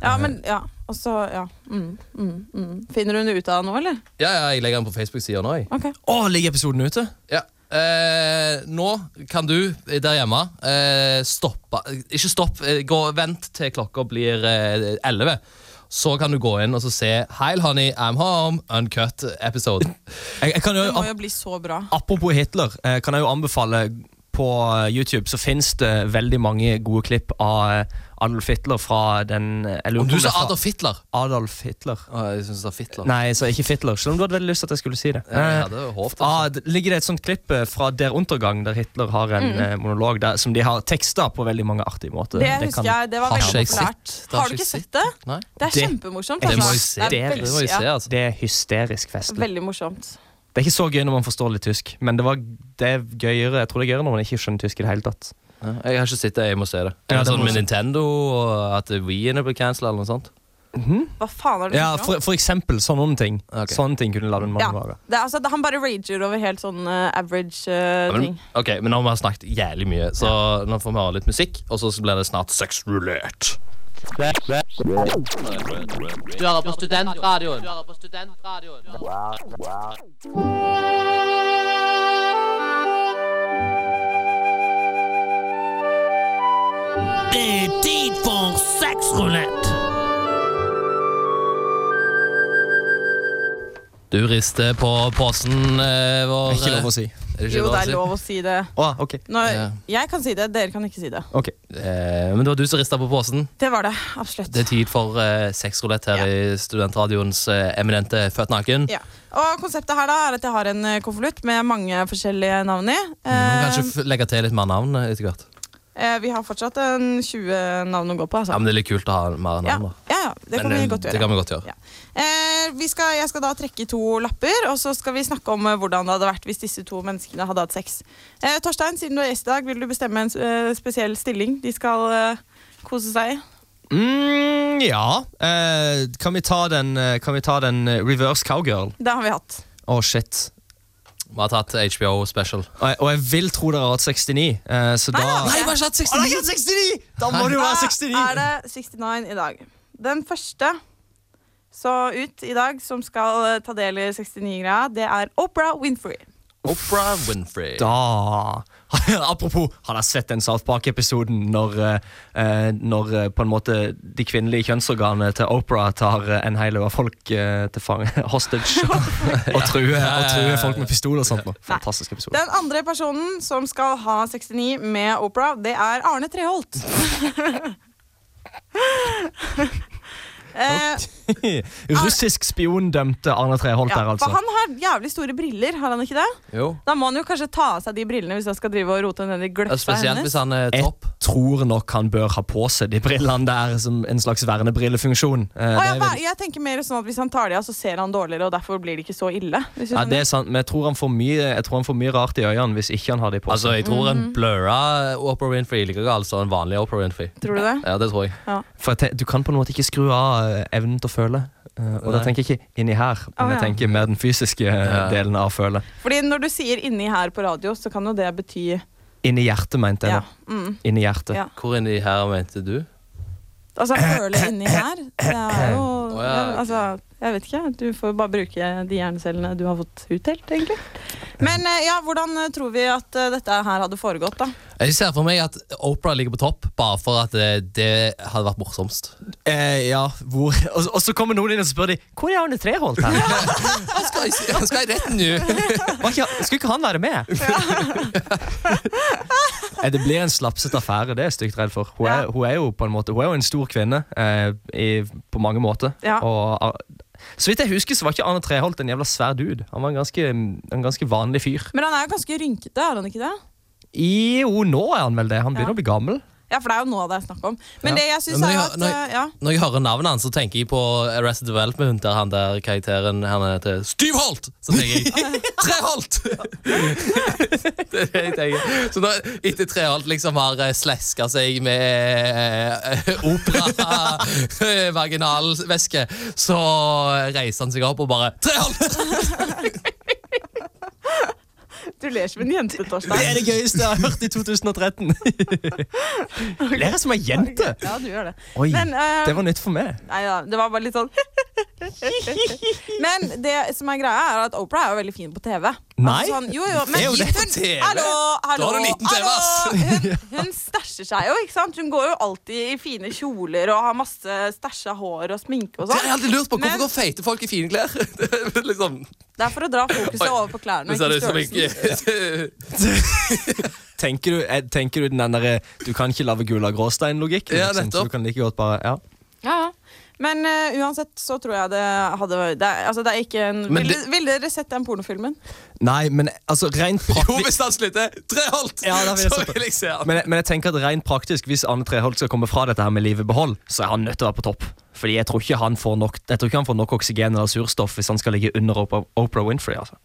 [SPEAKER 2] Ja, men ja. Og så, ja. Mm, mm, mm. Finner hun det ut av det nå, eller?
[SPEAKER 1] Ja, ja, jeg legger den på Facebook-sida nå, jeg.
[SPEAKER 2] Ok.
[SPEAKER 3] Å, ligger episoden ute?
[SPEAKER 1] Ja. Eh, nå kan du der hjemme eh, stoppe Ikke stopp, eh, gå, vent til klokka blir eh, 11. Så kan du gå inn og så se Heil honey, I'm home, uncut episode.
[SPEAKER 3] Jeg, jeg kan jo,
[SPEAKER 2] Det må
[SPEAKER 3] ap-
[SPEAKER 2] jo bli så bra.
[SPEAKER 3] apropos Hitler, eh, kan jeg jo anbefale på eh, YouTube så finnes det veldig mange gode klipp av eh, Adolf Hitler fra den jeg lurer
[SPEAKER 1] Om du
[SPEAKER 3] på det
[SPEAKER 1] sa
[SPEAKER 3] er fra-
[SPEAKER 1] Adolf Hitler.
[SPEAKER 3] Adolf Hitler.
[SPEAKER 1] Å, jeg syns du sa Fitler.
[SPEAKER 3] Nei, så ikke Hitler. Selv om du hadde veldig lyst til at jeg skulle si det.
[SPEAKER 1] Jeg
[SPEAKER 3] Eh,
[SPEAKER 1] hadde håpet det.
[SPEAKER 3] Ah, det ligger det et sånt klipp eh, fra Der Untergang, der Hitler har en eh, monolog der, som de har teksta på veldig mange artige måter.
[SPEAKER 2] Mm. Det husker jeg. Det var
[SPEAKER 1] Har
[SPEAKER 2] veldig
[SPEAKER 1] ikke jeg
[SPEAKER 2] populært.
[SPEAKER 1] sett- det har
[SPEAKER 2] Har du
[SPEAKER 1] ikke
[SPEAKER 2] ikke
[SPEAKER 1] jeg
[SPEAKER 2] sett det?
[SPEAKER 1] Nei.
[SPEAKER 2] Det er
[SPEAKER 3] Det-
[SPEAKER 2] kjempemorsomt.
[SPEAKER 3] det
[SPEAKER 1] Det må
[SPEAKER 2] altså.
[SPEAKER 1] jeg se.
[SPEAKER 2] Det er
[SPEAKER 3] veldig-
[SPEAKER 1] Det må jeg se,
[SPEAKER 2] ja,
[SPEAKER 1] altså.
[SPEAKER 3] Det er hysterisk festlig.
[SPEAKER 2] veldig morsomt.
[SPEAKER 3] Det er ikke så gøy når man forstår litt tysk, men det, var, det er gøyere jeg tror det er gøyere når man ikke skjønner tysk i det hele tatt.
[SPEAKER 1] Ja, Jeg har ikke sett det, jeg må se det.
[SPEAKER 3] Ja, det
[SPEAKER 1] sånn
[SPEAKER 3] må
[SPEAKER 1] med
[SPEAKER 3] du se.
[SPEAKER 1] Nintendo og at Wii-ene ble cancela eller noe sånt.
[SPEAKER 2] Hva faen er det
[SPEAKER 3] Ja,
[SPEAKER 2] du snakker om?
[SPEAKER 3] for, for eksempel sånne ting.
[SPEAKER 1] Ok.
[SPEAKER 3] Sånne ting kunne la den mange
[SPEAKER 2] Ja.
[SPEAKER 3] vare.
[SPEAKER 2] Det, er altså, det, han bare rager over helt sånn eh, average eh,
[SPEAKER 1] Ja, Men,
[SPEAKER 2] ting.
[SPEAKER 1] ok, men nå har vi snakket jævlig mye, så nå får vi høre litt musikk, og så blir det snart sexrulert.
[SPEAKER 5] Du hører på Studentradioen. Du hører på Studentradioen.
[SPEAKER 6] Det er tid for sexrulett.
[SPEAKER 1] Du rister på posen eh, vår.
[SPEAKER 3] Ikke lov å si.
[SPEAKER 1] Er det ikke
[SPEAKER 2] Jo,
[SPEAKER 1] lov å
[SPEAKER 2] det
[SPEAKER 1] si?
[SPEAKER 2] er lov å si det.
[SPEAKER 3] Å, ok.
[SPEAKER 2] Når,
[SPEAKER 1] Ja.
[SPEAKER 2] Jeg kan si det, dere kan ikke si det.
[SPEAKER 3] Ok.
[SPEAKER 1] Eh, men det var du som rista på posen.
[SPEAKER 2] Det var det. Absolutt.
[SPEAKER 1] Det er tid for eh, sexrulett her i studentradioens eh, eminente Født naken.
[SPEAKER 2] Ja. Og konseptet her da er at jeg har en eh, konvolutt med mange forskjellige navn i.
[SPEAKER 1] Vi må
[SPEAKER 2] Eh,
[SPEAKER 1] Mm, kanskje f legge til litt mer navn eh, etter hvert.
[SPEAKER 2] eh, vi har fortsatt en 20 navn å gå på.
[SPEAKER 1] Ja,
[SPEAKER 2] Altså.
[SPEAKER 1] men Det er litt kult å ha mer
[SPEAKER 2] Ja,
[SPEAKER 1] navn. da.
[SPEAKER 2] ja, ja, det kan
[SPEAKER 1] Men,
[SPEAKER 2] vi
[SPEAKER 1] eh,
[SPEAKER 2] godt
[SPEAKER 1] det
[SPEAKER 2] gjøre.
[SPEAKER 1] kan vi godt gjøre.
[SPEAKER 2] Ja. Eh, vi skal, jeg skal da trekke i to lapper, og så skal vi snakke om eh, hvordan det hadde vært hvis disse to menneskene hadde hatt sex. Eh, Torstein, siden du er gjest i dag, vil du bestemme en s- eh, spesiell stilling de skal eh, kose seg i?
[SPEAKER 3] Mm, ja. Eh, kan vi ta den, eh, kan vi ta den eh, reverse cowgirl?
[SPEAKER 2] Det har vi hatt.
[SPEAKER 3] Å, shit.
[SPEAKER 1] Vi har tatt HBO special.
[SPEAKER 3] Og jeg, og jeg vil tro dere har hatt 69, eh, så da
[SPEAKER 2] da. Nei, vi har
[SPEAKER 3] ikke hatt 69! Da må det jo
[SPEAKER 2] Da
[SPEAKER 3] være
[SPEAKER 2] er
[SPEAKER 3] 69!
[SPEAKER 2] det 69 i dag. Den første så ut i dag som skal eh, ta del i 69-greia, det er Opera Winfrey.
[SPEAKER 1] Oprah Winfrey.
[SPEAKER 3] da Apropos, har dere sett den South Park-episoden når, eh, eh, når eh, på en måte de kvinnelige kjønnsorganene til Opera tar eh, en hel haug av folk eh, til fange, hostage, og truer, og truer folk med pistol og sånt? nå. Fantastisk episode.
[SPEAKER 2] Den andre personen som skal ha 69 med Opera, det er Arne Treholt. eh,
[SPEAKER 3] Russisk spion dømte Arne Treholt
[SPEAKER 2] ja,
[SPEAKER 3] der,
[SPEAKER 2] for
[SPEAKER 3] altså.
[SPEAKER 2] han har jævlig store briller, har han ikke det?
[SPEAKER 1] Jo.
[SPEAKER 2] Da må han jo kanskje ta av seg de brillene hvis jeg skal drive og rote ned i
[SPEAKER 1] Ja,
[SPEAKER 2] gløtta
[SPEAKER 1] Spesielt
[SPEAKER 2] hennes.
[SPEAKER 1] hvis han er
[SPEAKER 3] Jeg
[SPEAKER 1] topp.
[SPEAKER 3] tror nok han bør ha på seg de brillene der som en slags vernebrillenfunksjon. Eh,
[SPEAKER 2] Å,
[SPEAKER 3] det,
[SPEAKER 2] ja,
[SPEAKER 3] er
[SPEAKER 2] hva-
[SPEAKER 3] vel-
[SPEAKER 2] jeg tenker mer sånn at Hvis han tar de av, så ser han dårligere, og derfor blir det ikke så ille. Hvis du
[SPEAKER 3] ja,
[SPEAKER 2] skjønner.
[SPEAKER 3] det er sant, men jeg tror, han får mye, jeg tror han får mye rart i øynene hvis ikke han har de på
[SPEAKER 1] Altså,
[SPEAKER 3] seg.
[SPEAKER 1] jeg tror
[SPEAKER 2] Mhm.
[SPEAKER 1] en blurra Oprah Winfrey like gal som en vanlig Oprah Winfrey.
[SPEAKER 2] Tror du det?
[SPEAKER 1] Ja, det tror jeg.
[SPEAKER 3] For jeg ten- Du kan på en måte ikke skru av eh, evnen til å føle. Eh, og da
[SPEAKER 1] Nei.
[SPEAKER 3] tenker jeg ikke inni her, men
[SPEAKER 2] Å,
[SPEAKER 3] jeg
[SPEAKER 2] ja.
[SPEAKER 3] tenker mer den fysiske eh, delen av å føle.
[SPEAKER 2] Fordi når du sier 'inni her' på radio, så kan jo det bety
[SPEAKER 3] Inni hjertet, mente jeg.
[SPEAKER 2] Ja.
[SPEAKER 3] nå.
[SPEAKER 2] Mm.
[SPEAKER 3] Inni hjertet.
[SPEAKER 2] Ja.
[SPEAKER 1] Hvor inni her mente du?
[SPEAKER 2] Altså, føle inni her. Det er jo
[SPEAKER 1] Å, ja, ok.
[SPEAKER 2] Altså, jeg vet ikke. Du får bare bruke de hjernecellene du har fått utdelt, egentlig. Men eh, ja, hvordan eh, tror vi at eh, dette her hadde foregått, da?
[SPEAKER 1] Jeg ser for meg at Oprah ligger på topp, bare for at eh, det hadde vært morsomst.
[SPEAKER 3] Eh, ja, hvor og, og så kommer noen inn og spør de Hvor er Arne Treholt her?
[SPEAKER 1] Skal jeg, skal jeg rett nå?
[SPEAKER 3] Var ikke, han- skulle ikke han være med? Eh, det blir en slapset affære, det er jeg stygt redd for. Hun er,
[SPEAKER 2] Ja.
[SPEAKER 3] hun er jo på en måte Hun er jo en stor kvinne eh, i, på mange måter.
[SPEAKER 2] Ja.
[SPEAKER 3] Og, ah, så vidt jeg husker, så var ikke Arne Treholt en jævla svær dude. Han var en ganske, en ganske vanlig fyr.
[SPEAKER 2] Men han er jo ganske rynkete, er han ikke det?
[SPEAKER 3] Jo, nå er han vel det. Han begynner å
[SPEAKER 2] Ja.
[SPEAKER 3] bli gammel.
[SPEAKER 2] Ja, for det er jo nå det er snakk om. Men
[SPEAKER 3] Ja.
[SPEAKER 2] det jeg syns
[SPEAKER 1] Men
[SPEAKER 2] er
[SPEAKER 1] jeg
[SPEAKER 2] jo
[SPEAKER 1] har-
[SPEAKER 2] at
[SPEAKER 1] nei.
[SPEAKER 2] eh, ja.
[SPEAKER 1] Når jeg hører navnet hans, så tenker jeg på Arrested Development, der han der karakteren han heter Styvholt! Så tenker jeg Treholt! det er det jeg tenker. Så når, etter Treholt liksom har eh, sleska seg med eh, opera-vaginalvæske, så reiser han seg opp og bare Treholt!
[SPEAKER 2] Du ler som en jente, Torstein.
[SPEAKER 3] det gøyeste jeg har hørt i 2013. Ler jeg som ei jente?
[SPEAKER 2] Ja, du gjør det.
[SPEAKER 3] Oi,
[SPEAKER 2] Men, eh,
[SPEAKER 3] det var nytt for meg.
[SPEAKER 2] Nei da, det var bare litt sånn Men det som er greia, er at Opera er jo veldig fin på TV.
[SPEAKER 3] Nei,
[SPEAKER 2] Altså sånn, jo, jo, men
[SPEAKER 3] det er jo det på
[SPEAKER 2] hun-
[SPEAKER 3] TV.
[SPEAKER 2] Hallo, hallo,
[SPEAKER 1] har du liten TV,
[SPEAKER 2] hallo. Hun, hun stæsjer seg jo, ikke sant? Hun går jo alltid i fine kjoler og har masse stæsja hår og sminke og
[SPEAKER 1] Det har jeg
[SPEAKER 2] sånn.
[SPEAKER 1] alltid lurt på.
[SPEAKER 2] Men-
[SPEAKER 1] Hvorfor går feite folk i fine klær? Det er liksom,
[SPEAKER 2] Det er for å dra fokuset over på klærne.
[SPEAKER 1] det ser
[SPEAKER 2] Ikke
[SPEAKER 1] ut som
[SPEAKER 2] størrelsen.
[SPEAKER 1] ikke
[SPEAKER 3] Tenker du, eh, tenker du den derre Du kan ikke lage gull av gråstein-logikken?
[SPEAKER 1] Ja,
[SPEAKER 3] liksom, så
[SPEAKER 1] nettopp.
[SPEAKER 3] du kan like godt bare Ja.
[SPEAKER 2] Ja, ja. Men eh, uansett så tror jeg det hadde det, er- Altså, det er ikke en
[SPEAKER 1] Men
[SPEAKER 2] ville,
[SPEAKER 1] det-
[SPEAKER 2] ville dere sett den pornofilmen?
[SPEAKER 3] Nei, men altså, rent
[SPEAKER 1] Jo,
[SPEAKER 3] praktisk
[SPEAKER 1] hvis han slutter Treholt,
[SPEAKER 3] Ja, da vil jeg
[SPEAKER 1] så
[SPEAKER 3] stoppe.
[SPEAKER 1] vil jeg se han.
[SPEAKER 3] men, men jeg tenker at rent praktisk hvis Arne Treholt skal komme fra dette her med livet i behold, så er han nødt til å være på topp. Fordi jeg tror ikke han får nok, jeg tror ikke han får nok oksygen eller surstoff hvis han skal ligge under Oprah, Oprah Winfrey. altså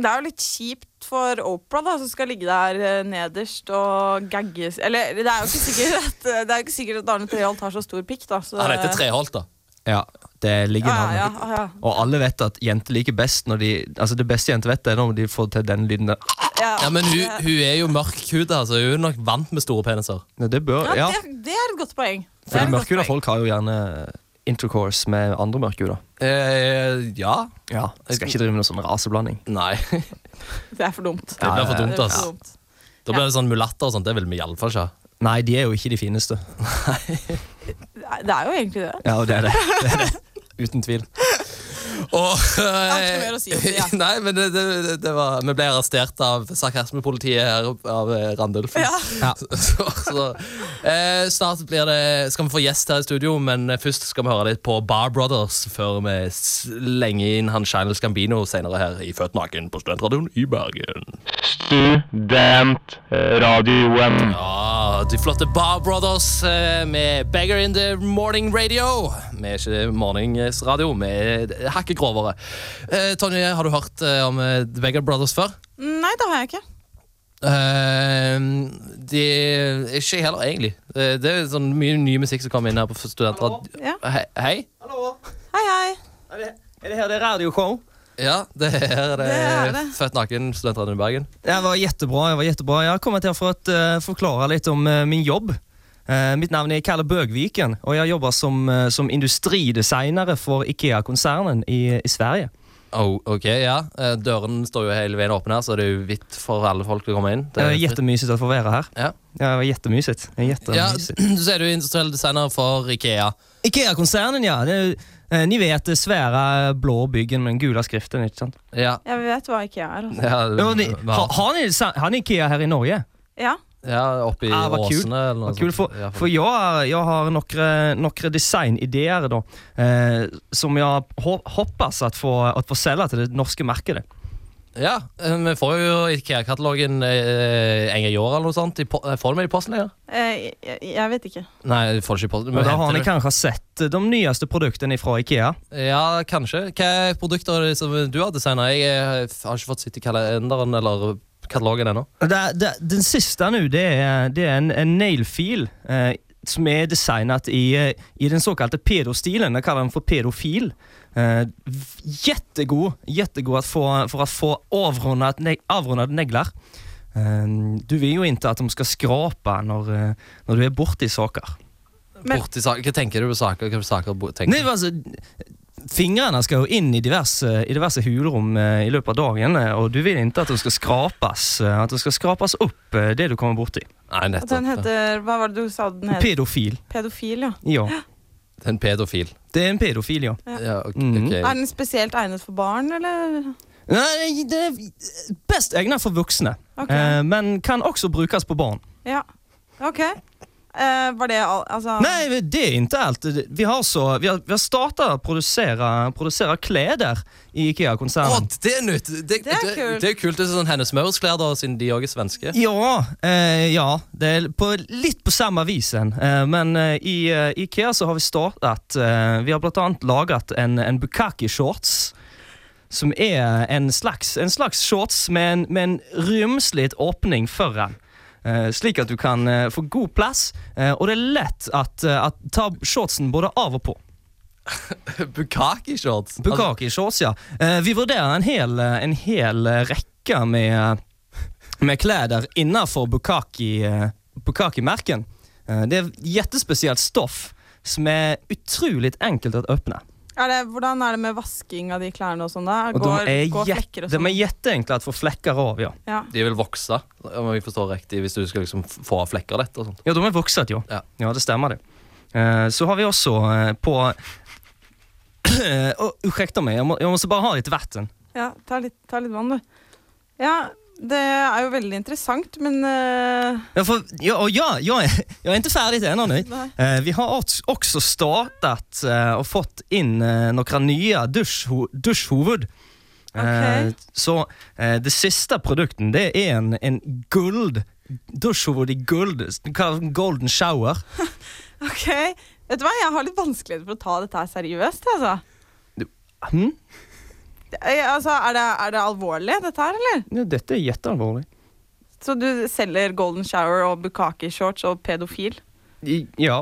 [SPEAKER 2] Det er jo litt kjipt for Opera, da, som skal ligge der eh, nederst og gagges Eller det er jo ikke sikkert at, det er jo ikke sikkert at Arne Treholt har så stor pikk, da. Så,
[SPEAKER 1] Han heter Treholt, da.
[SPEAKER 3] Ja, det ligger
[SPEAKER 2] Ja,
[SPEAKER 3] navnet.
[SPEAKER 2] ja, ja, ja.
[SPEAKER 3] Og alle vet at jenter liker best når de Altså det beste jenter vet, det er når de får til den lyden der.
[SPEAKER 2] Ja,
[SPEAKER 1] Ja, men hun,
[SPEAKER 2] det-
[SPEAKER 1] hun er jo mørkhuda, så hun er nok vant med store peniser.
[SPEAKER 3] Nei, det bør,
[SPEAKER 2] ja,
[SPEAKER 3] ja,
[SPEAKER 2] Det, det er et godt poeng. Det er
[SPEAKER 3] For
[SPEAKER 2] et
[SPEAKER 3] de
[SPEAKER 2] godt
[SPEAKER 3] mørkhuda
[SPEAKER 2] poeng.
[SPEAKER 3] folk har jo gjerne intercourse med andre mørkhuda.
[SPEAKER 1] Eh, ja.
[SPEAKER 3] Ja, jeg skal ikke drive med noe sånn raseblanding.
[SPEAKER 1] Nei. Det
[SPEAKER 2] Det er for dumt.
[SPEAKER 3] Ja,
[SPEAKER 1] blir for
[SPEAKER 2] Det er
[SPEAKER 1] dumt, altså.
[SPEAKER 2] for
[SPEAKER 1] ass.
[SPEAKER 2] dumt.
[SPEAKER 1] Da blir det sånn mulatter og sånt. Det vil vi iallfall ikke ha.
[SPEAKER 3] Nei, de er jo ikke de fineste.
[SPEAKER 2] Nei, Det er jo egentlig det.
[SPEAKER 3] Ja, og det er det. det, er det. Uten tvil.
[SPEAKER 1] Og,
[SPEAKER 2] har ikke mer å si om det, ja.
[SPEAKER 1] eh, Nei, men det, det, det- det var, vi ble arrestert av sarkasmepolitiet her opp- av eh, Randulf.
[SPEAKER 2] Ja.
[SPEAKER 3] Ja.
[SPEAKER 1] Så, så, eh, snart blir det, skal vi få gjest her i studio, men eh, først skal vi høre litt på Bar Brothers før vi slenger inn han Channel Scambino senere her i Født naken på Studentradioen i Bergen.
[SPEAKER 7] Studentradioen.
[SPEAKER 1] Ja, Ah, de flotte Bar Brothers eh, med Beggar in the Morning Radio. Vi er ikke morningsradio, vi er hakket grovere. Eh, Tonje, har du hørt eh, om eh, The Beggar Brothers før?
[SPEAKER 2] Nei, det har jeg ikke.
[SPEAKER 1] Eh, de Ikke heller, egentlig. Eh, det er sånn mye ny musikk som kommer inn her på studentradio.
[SPEAKER 2] Ja.
[SPEAKER 1] He hei?
[SPEAKER 2] Hei, hei.
[SPEAKER 3] Er det her det er radioshow?
[SPEAKER 1] Ja, det er det.
[SPEAKER 2] er det.
[SPEAKER 1] Født naken, studentradioen i Bergen.
[SPEAKER 3] Det var jettebra. Jeg var jettebra. Jeg har kommet her for å eh, forklare litt om eh, min jobb. Eh, mitt navn er Kalle Bøgviken, og jeg jobber som, eh, som industridesigner for Ikea-konsernen i, i Sverige.
[SPEAKER 1] Oh, ok, ja. Eh, Døren står jo hele veien åpen her, så det er jo vidt for alle folk å komme inn. Det er
[SPEAKER 3] Jeg gjetter mye sitt å få være her.
[SPEAKER 1] Ja.
[SPEAKER 3] Ja, jeg gjetter mye sitt. Jeg gjetter
[SPEAKER 1] Ja,
[SPEAKER 3] mye sitt.
[SPEAKER 1] så er du industriell designer for Ikea.
[SPEAKER 3] Ikea-konsernen, ja. Det, er jo- eh, ni vet det svære blå byggen med den gule skriften, ikke sant?
[SPEAKER 1] Ja.
[SPEAKER 2] Jeg vet hva IKEA er. Altså.
[SPEAKER 1] Ja,
[SPEAKER 3] Ja, ni,
[SPEAKER 1] hva-
[SPEAKER 3] har, har, ni, sa- har ni Ikea her i Norge?
[SPEAKER 2] Ja.
[SPEAKER 1] ja oppe i
[SPEAKER 3] Ah, hva kul.
[SPEAKER 1] Åsene eller noe
[SPEAKER 3] Vad kul, for,
[SPEAKER 1] sånt. sånn- Ja,
[SPEAKER 3] for jeg, er- jeg har några, några designideer da, eh, som jeg ho- hoppas att få, att få sälja till det norske markedet.
[SPEAKER 1] Ja, eh, vi får jo IKEA-katalogen eh, en gang i året eller noe sånt. I po eh, får du meg i posten? Eller?
[SPEAKER 2] Eh, jeg, jeg vet ikke.
[SPEAKER 1] Nei, du får ikke i posten.
[SPEAKER 3] Och
[SPEAKER 1] men
[SPEAKER 3] då har
[SPEAKER 1] henter
[SPEAKER 3] ni
[SPEAKER 1] du-
[SPEAKER 3] kanskje sett de nyeste produkterna fra Ikea.
[SPEAKER 1] Ja, kanskje. Hvilke produkter er det som du har designet? Jeg eh, f- har ikke fått sitte i kalenderen eller katalogen ennå.
[SPEAKER 3] Det, det, den siste nå, det er, det er en, en nailfil eh, som er designet i, eh, i den såkalte pedostilen. Jeg kaller den for pedofil. Eh, v- jättegod, jättegod att få, för att få avrundat, neg avrundade negler. Eh, du vil jo ikke at de skal skrape når, eh, når du er borti saker.
[SPEAKER 2] Men-
[SPEAKER 1] Borti saker. Hva tenker du på saker? Hva saker bo- tenker
[SPEAKER 3] Nei,
[SPEAKER 1] du?
[SPEAKER 3] altså, fingrene skal jo inn i diverse, i diverse hulrom eh, i løpet av dagen, eh, og du vil ikke at de skal skrapes, eh, at de skal skrapes opp eh, det du kommer borti.
[SPEAKER 1] Nei,
[SPEAKER 2] At den
[SPEAKER 1] nettopp.
[SPEAKER 2] heter Hva var det du sa den het?
[SPEAKER 3] Pedofil.
[SPEAKER 2] Pedofil, ja.
[SPEAKER 3] Ja,
[SPEAKER 1] Det er En pedofil.
[SPEAKER 3] det er en pedofil, ja.
[SPEAKER 1] Ja, ok.
[SPEAKER 3] Mhm.
[SPEAKER 1] ok.
[SPEAKER 2] Er den spesielt egnet for barn, eller?
[SPEAKER 3] Nei, det er best egnet for voksne,
[SPEAKER 2] Ok.
[SPEAKER 3] eh, men kan også brukes på barn.
[SPEAKER 2] Ja. OK. Eh, var det all, altså
[SPEAKER 3] Nei, det er ikke alt. Vi har, så, vi har, vi har startet å produsere, produsere kleder i
[SPEAKER 1] Å,
[SPEAKER 3] IKEA-konsernen.
[SPEAKER 1] det er nytt! Det,
[SPEAKER 2] Det er kult.
[SPEAKER 1] Det er kult det er sånn Hennes Mauritz-klær, da, siden de òg er svenske.
[SPEAKER 3] Ja, eh, ja. Det er på, litt på samme visen. Eh, men eh, i eh, Ikea så har vi startet eh, Vi har blant annet laget en, en bukkake-shorts. Som er en slags, en slags shorts med en, med en rymslig åpning foran. Eh, slik at du kan eh, få god plass, eh, og det er lett at, eh, at ta shortsen både av og på.
[SPEAKER 1] Bukaki-shorts.
[SPEAKER 3] Bukkake-shorts, ja. Eh, vi vurderer en hel, eh, en hel eh, rekke med, eh, med klær innenfor bukkake- eh, bukkake-merken. Eh, det er jättespesielt stoff som er utrolig enkelt å åpne.
[SPEAKER 2] er det, Hvordan er det med vasking av de klærne og sånn? da?
[SPEAKER 3] Og
[SPEAKER 2] Går,
[SPEAKER 3] de er,
[SPEAKER 2] går
[SPEAKER 3] jett-
[SPEAKER 2] flekker og
[SPEAKER 3] de
[SPEAKER 2] sånn?
[SPEAKER 3] er jätteenkle å få flekker av, ja.
[SPEAKER 2] Ja.
[SPEAKER 1] De vil vokse, om jeg forstår riktig, hvis du skal liksom f- få av flekker lett og sånt.
[SPEAKER 3] Ja, de er vokset, ja.
[SPEAKER 1] Ja.
[SPEAKER 3] ja. det stemmer det. Eh, så har vi også eh, på oh, Unnskyld meg, jeg må, jeg måste bare ha litt vann.
[SPEAKER 2] ja ta, litt, ta litt vann, du. Ja, det er jo veldig interessant, men eh,
[SPEAKER 3] Ja, for, ja, og ja, jeg, er- jeg er ikke ferdig ennå, nei.
[SPEAKER 2] Nei.
[SPEAKER 3] Eh, vi har ogs- også startet eh, og fått inn eh, noen nye dusjho dusjhoved. Eh,
[SPEAKER 2] Ok.
[SPEAKER 3] så eh, det siste produkten det er en, en guld dusjhoved i guld. Den kalles Golden shower.
[SPEAKER 2] OK. Vet du hva, jeg har litt vanskeligheter for å ta dette her seriøst, jeg, altså.
[SPEAKER 3] Hm?
[SPEAKER 2] Eh, altså er, det, er det alvorlig, dette her, eller?
[SPEAKER 3] Ja, dette er kjempealvorlig.
[SPEAKER 2] Så du selger golden shower og bukkake-shorts og pedofil?
[SPEAKER 3] I- Ja.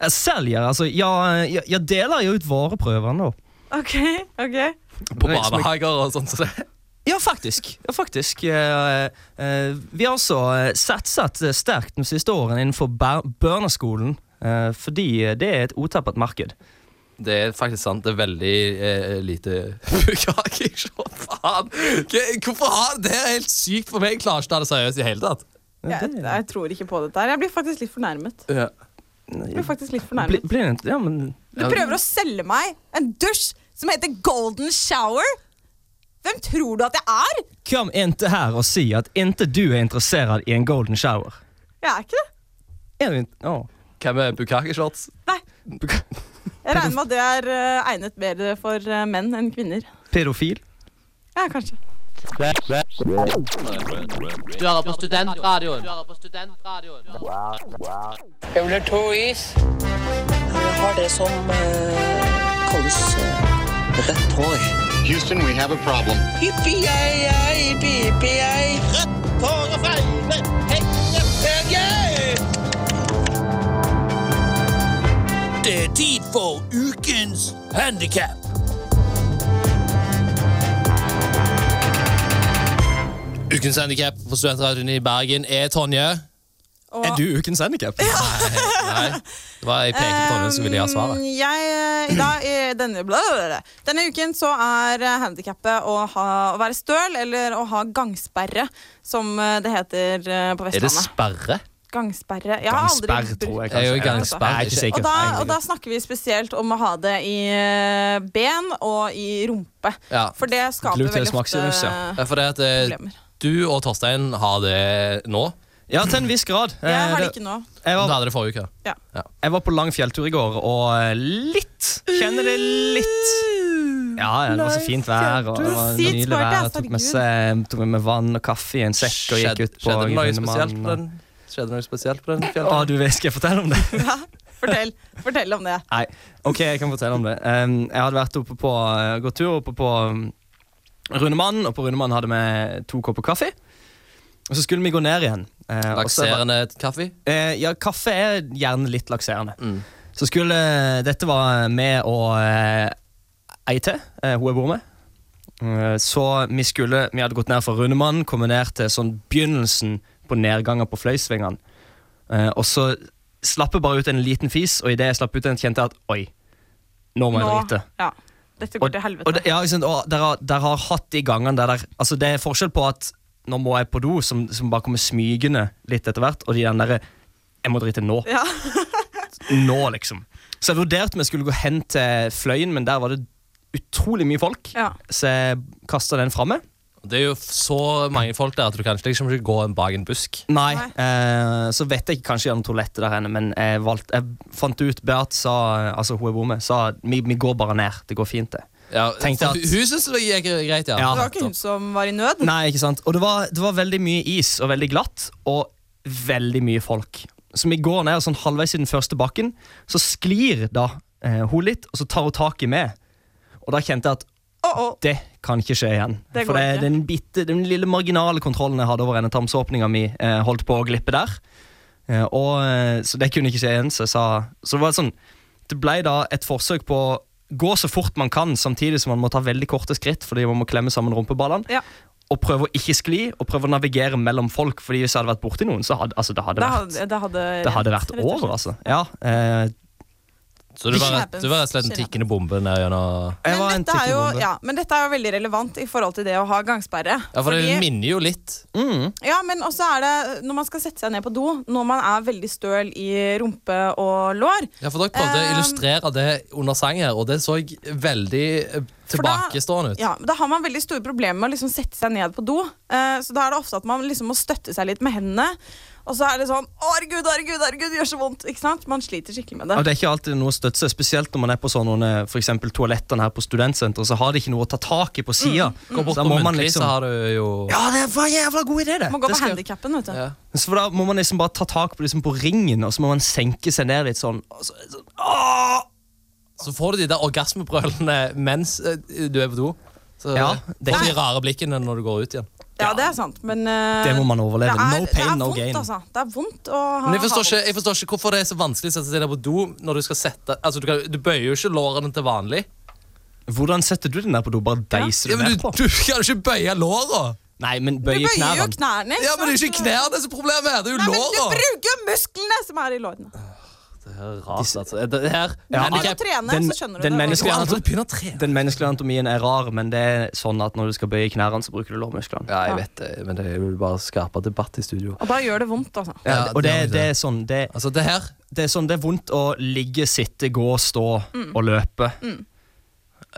[SPEAKER 3] Jeg selger, altså. Jeg, jeg, jeg deler jo ut vareprøvene. da.
[SPEAKER 2] OK, OK.
[SPEAKER 1] På
[SPEAKER 3] Det er ikke så mye-
[SPEAKER 1] barnehager og sånt. Så det.
[SPEAKER 3] Ja, faktisk. Ja, faktisk. Eh, eh, vi har også eh, satset eh, sterkt de siste årene innenfor bar- barneskolen, eh, fordi eh, det er et otappet marked.
[SPEAKER 1] det er faktisk sant. Det er veldig eh, lite bukaki-shorts. Faen! Hva- Hvorfor har det er helt sykt for meg? Jeg klarer ikke å ta det seriøst i hele tatt.
[SPEAKER 2] Jeg, jeg tror ikke på dette her. Jeg blir faktisk litt fornærmet.
[SPEAKER 1] Ja.
[SPEAKER 2] Jeg blir faktisk litt
[SPEAKER 3] Bli,
[SPEAKER 2] fornærmet.
[SPEAKER 3] blir det ikke? Ja, men
[SPEAKER 2] Du prøver å selge meg en dusj som heter golden shower? Hvem tror du at jeg er?
[SPEAKER 3] kom ikke her og si at ikke du er interessert i en golden shower.
[SPEAKER 2] Jeg er ikke det.
[SPEAKER 3] Er du ikke? Ja.
[SPEAKER 1] Hvem er bukaki-shorts?
[SPEAKER 2] Nei. Jeg regner med at det er eh, egnet mer for eh, menn enn kvinner.
[SPEAKER 3] Pedofil?
[SPEAKER 2] Ja, kanskje.
[SPEAKER 5] Du hører på studentradioen. Du hører på studentradioen.
[SPEAKER 7] Jeg vil ha to is.
[SPEAKER 8] Jeg har det som eh, kalles eh, rødt hår.
[SPEAKER 9] Houston, we have a problem.
[SPEAKER 7] Hippie-ei-ei, hippie-ei. Rødt hår og feive, hekkepenger!
[SPEAKER 6] Det er tid for ukens handicap.
[SPEAKER 1] Ukens handikap på Studentradioen i Bergen er Tonje.
[SPEAKER 2] Og,
[SPEAKER 3] Er du ukens handikap?
[SPEAKER 1] Nei, det var jeg pekte på noen som ville ha svaret.
[SPEAKER 2] Um, Jeg, da, i denne, bla, bla, bla. denne uken så er eh, handikappet å, ha, å være støl eller å ha gangsperre, som eh, det heter eh, på
[SPEAKER 1] Er det
[SPEAKER 2] Vestlandet.
[SPEAKER 1] sperre?
[SPEAKER 2] Gangsperre. Jeg har aldri
[SPEAKER 3] Gangsperre, tror jeg
[SPEAKER 2] brukt-
[SPEAKER 1] Jeg er jo
[SPEAKER 3] kanskje.
[SPEAKER 1] gangsperre,
[SPEAKER 3] Jeg er ikke
[SPEAKER 1] ikke-
[SPEAKER 2] og
[SPEAKER 3] sikker.
[SPEAKER 2] da, og da snakker vi spesielt om å ha det i eh, ben og i rumpe.
[SPEAKER 1] Ja.
[SPEAKER 2] For det skaper
[SPEAKER 3] Gluteus
[SPEAKER 2] veldig ofte
[SPEAKER 3] maximus, ja.
[SPEAKER 1] Ja, For det at eh,
[SPEAKER 2] problemer.
[SPEAKER 1] du og Torstein har det nå.
[SPEAKER 3] Ja, til en viss grad. Eh,
[SPEAKER 2] Jeg har det
[SPEAKER 3] det-
[SPEAKER 2] ikke nå.
[SPEAKER 1] Du
[SPEAKER 3] jeg var
[SPEAKER 1] hadde det forrige uke.
[SPEAKER 2] Ja.
[SPEAKER 3] Jeg var på lang fjelltur i går, og eh, litt Kjenner det litt. Ja, ja, det var så fint vær, og det altså var
[SPEAKER 2] Sykt
[SPEAKER 3] nydelig
[SPEAKER 2] smart,
[SPEAKER 3] vær.
[SPEAKER 2] ass,
[SPEAKER 3] Jeg tok med,
[SPEAKER 2] herregud.
[SPEAKER 3] seg, tok med meg vann og kaffe i en sekk og gikk
[SPEAKER 1] Skjedde-
[SPEAKER 3] ut på
[SPEAKER 1] skjedde det noe spesielt
[SPEAKER 3] Grønnemann,
[SPEAKER 1] på den? Skjedde det noe spesielt på den
[SPEAKER 3] og- Å,
[SPEAKER 1] fjellturen?
[SPEAKER 3] du vet, skal jeg fortelle om det?
[SPEAKER 2] Fortell, fortell om det.
[SPEAKER 3] Nei, ok, jeg kan fortelle om det. Um, jeg hadde vært oppe på, uh, gått tur oppe på um, Runemann, og på Runemann hadde vi to kopper kaffe. Og så skulle vi gå ned igjen. Eh, og så-
[SPEAKER 1] Lakserende kaffe? Mm.
[SPEAKER 3] Eh, ja, kaffe er gjerne litt lakserende. Så skulle Dette var med og eh, ei til, eh, hun jeg bor med. Eh, så vi skulle Vi hadde gått ned fra Runemann, kommet ned til sånn begynnelsen på nedgangen på Fløysvingene. Eh, og så slapp jeg bare ut en liten fis, og idet jeg slapp ut den, kjente jeg at oi, nå må jeg drite.
[SPEAKER 2] ja. Dette går
[SPEAKER 3] Og,
[SPEAKER 2] til
[SPEAKER 3] og,
[SPEAKER 2] helvete.
[SPEAKER 3] det- ja, ikke sant, og der, har- der har hatt de gangene der, der altså Det er forskjell på at nå må jeg på do, som, som bare kommer smygende litt etter hvert, og de den derre Jeg må drite nå.
[SPEAKER 2] Ja.
[SPEAKER 3] Nå, liksom. Så jeg vurderte om jeg skulle gå hen til Fløyen, men der var det utrolig mye folk,
[SPEAKER 2] Ja.
[SPEAKER 3] så jeg kasta den framme.
[SPEAKER 1] Det er jo så mange folk der at du kanskje liksom ikke går bak en busk.
[SPEAKER 3] Nei,
[SPEAKER 2] Nei.
[SPEAKER 3] Eh, så vet jeg ikke kanskje gjennom toalettet der inne, men jeg, valgte, jeg fant ut Beat sa, altså hun jeg bor med, sa vi, vi går bare ned. Det går fint, det.
[SPEAKER 1] Ja,
[SPEAKER 3] Tenkte
[SPEAKER 1] for
[SPEAKER 3] at-
[SPEAKER 1] Hun syns det gikk greit, ja.
[SPEAKER 3] Ja.
[SPEAKER 2] Det var ikke hun som var i nød.
[SPEAKER 3] Nei, ikke sant. Og det var, det var veldig mye is og veldig glatt, og veldig mye folk. Så vi går ned og sånn halvveis i den første bakken, så sklir da eh, hun litt, og så tar hun tak i meg. Og da kjente jeg at
[SPEAKER 2] Å, å.
[SPEAKER 3] det kan ikke skje igjen.
[SPEAKER 2] Det
[SPEAKER 3] For
[SPEAKER 2] går
[SPEAKER 3] det,
[SPEAKER 2] ikke.
[SPEAKER 3] den, bitte, den lille marginale kontrollen jeg hadde over endetarmsåpninga mi, eh, holdt på å glippe der. Eh, og, eh, så det kunne ikke skje igjen. Så, jeg sa, så det var sånn Det ble da et forsøk på å gå så fort man kan, samtidig som man må ta veldig korte skritt fordi man må klemme sammen rumpeballene.
[SPEAKER 2] Ja.
[SPEAKER 3] Og prøve å ikke skli, og prøve å navigere mellom folk. Fordi hvis jeg hadde vært borti noen, så hadde altså, det hadde
[SPEAKER 2] Det
[SPEAKER 3] vært,
[SPEAKER 2] hadde, det hadde,
[SPEAKER 3] det hadde vært
[SPEAKER 2] rett og slett.
[SPEAKER 3] over, altså. Ja, eh,
[SPEAKER 1] Så du var,
[SPEAKER 2] Skjerpens.
[SPEAKER 1] du var rett og slett en tikkende bombe ned gjennom
[SPEAKER 3] jeg var
[SPEAKER 2] Men
[SPEAKER 3] en
[SPEAKER 2] dette, er jo,
[SPEAKER 3] tikkende bombe.
[SPEAKER 2] ja, men dette er jo veldig relevant i forhold til det å ha gangsperre.
[SPEAKER 1] Ja, for det
[SPEAKER 2] Fordi-
[SPEAKER 1] minner jo litt.
[SPEAKER 2] ja, men også er det når man skal sette seg ned på do, når man er veldig støl i rumpe og lår
[SPEAKER 1] Ja, for Dere prøvde å
[SPEAKER 2] Eh,
[SPEAKER 1] illustrere det under sang her, og det så veldig eh,
[SPEAKER 2] for da-
[SPEAKER 1] tilbakestående ut.
[SPEAKER 2] Ja, men Da har man veldig store problemer med å liksom sette seg ned på do. Eh, så da er det ofte at man liksom må støtte seg litt med hendene. Og så er det sånn Å, herregud, herregud, herregud, det gjør så vondt. Ikke sant? Man sliter skikkelig med det.
[SPEAKER 3] Ja, det er ikke alltid noe å støtte seg, spesielt når man er på sånne, eh, for eksempel toalettene her på studentsenter, så har de ikke noe å ta tak i på sida.
[SPEAKER 1] Gå bort på muntlig, så har du jo
[SPEAKER 3] liksom Ja, det var en jævla god idé, det!
[SPEAKER 2] Man går
[SPEAKER 3] det
[SPEAKER 2] på
[SPEAKER 3] skal jeg-
[SPEAKER 2] handikappen, vet du.
[SPEAKER 1] Ja.
[SPEAKER 3] så da må man liksom bare ta tak på, liksom på ringen, og så må man senke seg ned litt sånn. og så- sånn åh!
[SPEAKER 1] Så får du de der orgasmebrølene mens eh, du er på do. Så
[SPEAKER 3] Ja, det-
[SPEAKER 1] det er de rare blikkene når du går ut igjen.
[SPEAKER 2] Ja, det er sant, men eh,
[SPEAKER 3] Det må man overleve.
[SPEAKER 2] det er-
[SPEAKER 3] No pain,
[SPEAKER 2] det er
[SPEAKER 3] no
[SPEAKER 2] vondt,
[SPEAKER 3] gain.
[SPEAKER 2] Altså. Det er vondt å ha
[SPEAKER 1] Men jeg forstår,
[SPEAKER 2] ha
[SPEAKER 1] ikke, jeg forstår ikke hvorfor det er så vanskelig å sette seg ned på do når du skal sette Altså, du, kan, du bøyer jo ikke lårene til vanlig.
[SPEAKER 3] Hvordan setter du den der på do? Bare deiser
[SPEAKER 1] Ja,
[SPEAKER 3] du
[SPEAKER 1] men
[SPEAKER 3] ned
[SPEAKER 1] du,
[SPEAKER 3] på?
[SPEAKER 1] du kan jo ikke bøye låra!
[SPEAKER 3] Nei, men
[SPEAKER 2] vondt. Du
[SPEAKER 3] bøye
[SPEAKER 2] bøyer jo
[SPEAKER 3] knærne.
[SPEAKER 2] knærne.
[SPEAKER 1] Ja, men det er jo
[SPEAKER 2] sant?
[SPEAKER 1] ikke knærne som er problemet her, det er
[SPEAKER 2] Nei,
[SPEAKER 1] jo
[SPEAKER 2] men du
[SPEAKER 1] låra!
[SPEAKER 2] bruker jo musklene som er i lårene.
[SPEAKER 1] Det er rart, altså. Det her,
[SPEAKER 3] Ja,
[SPEAKER 1] handicap-
[SPEAKER 2] Begynn å trene,
[SPEAKER 3] den-
[SPEAKER 2] så skjønner du
[SPEAKER 3] den
[SPEAKER 2] det.
[SPEAKER 3] menneskelige
[SPEAKER 1] Ja,
[SPEAKER 3] anatom-
[SPEAKER 1] du begynner å trene.
[SPEAKER 3] Den menneskelige anatomien er rar, men det er sånn at når du skal bøye knærne, så bruker du lårmusklene.
[SPEAKER 1] Ja, jeg vet det, men det er jo bare å skape debatt i studio.
[SPEAKER 2] Og da gjør det vondt, altså.
[SPEAKER 1] Ja,
[SPEAKER 3] og
[SPEAKER 1] det-
[SPEAKER 3] det, det er sånn det,
[SPEAKER 1] Altså, det her
[SPEAKER 3] det er sånn, det er vondt å ligge, sitte, gå, stå
[SPEAKER 2] Mm.
[SPEAKER 3] og løpe.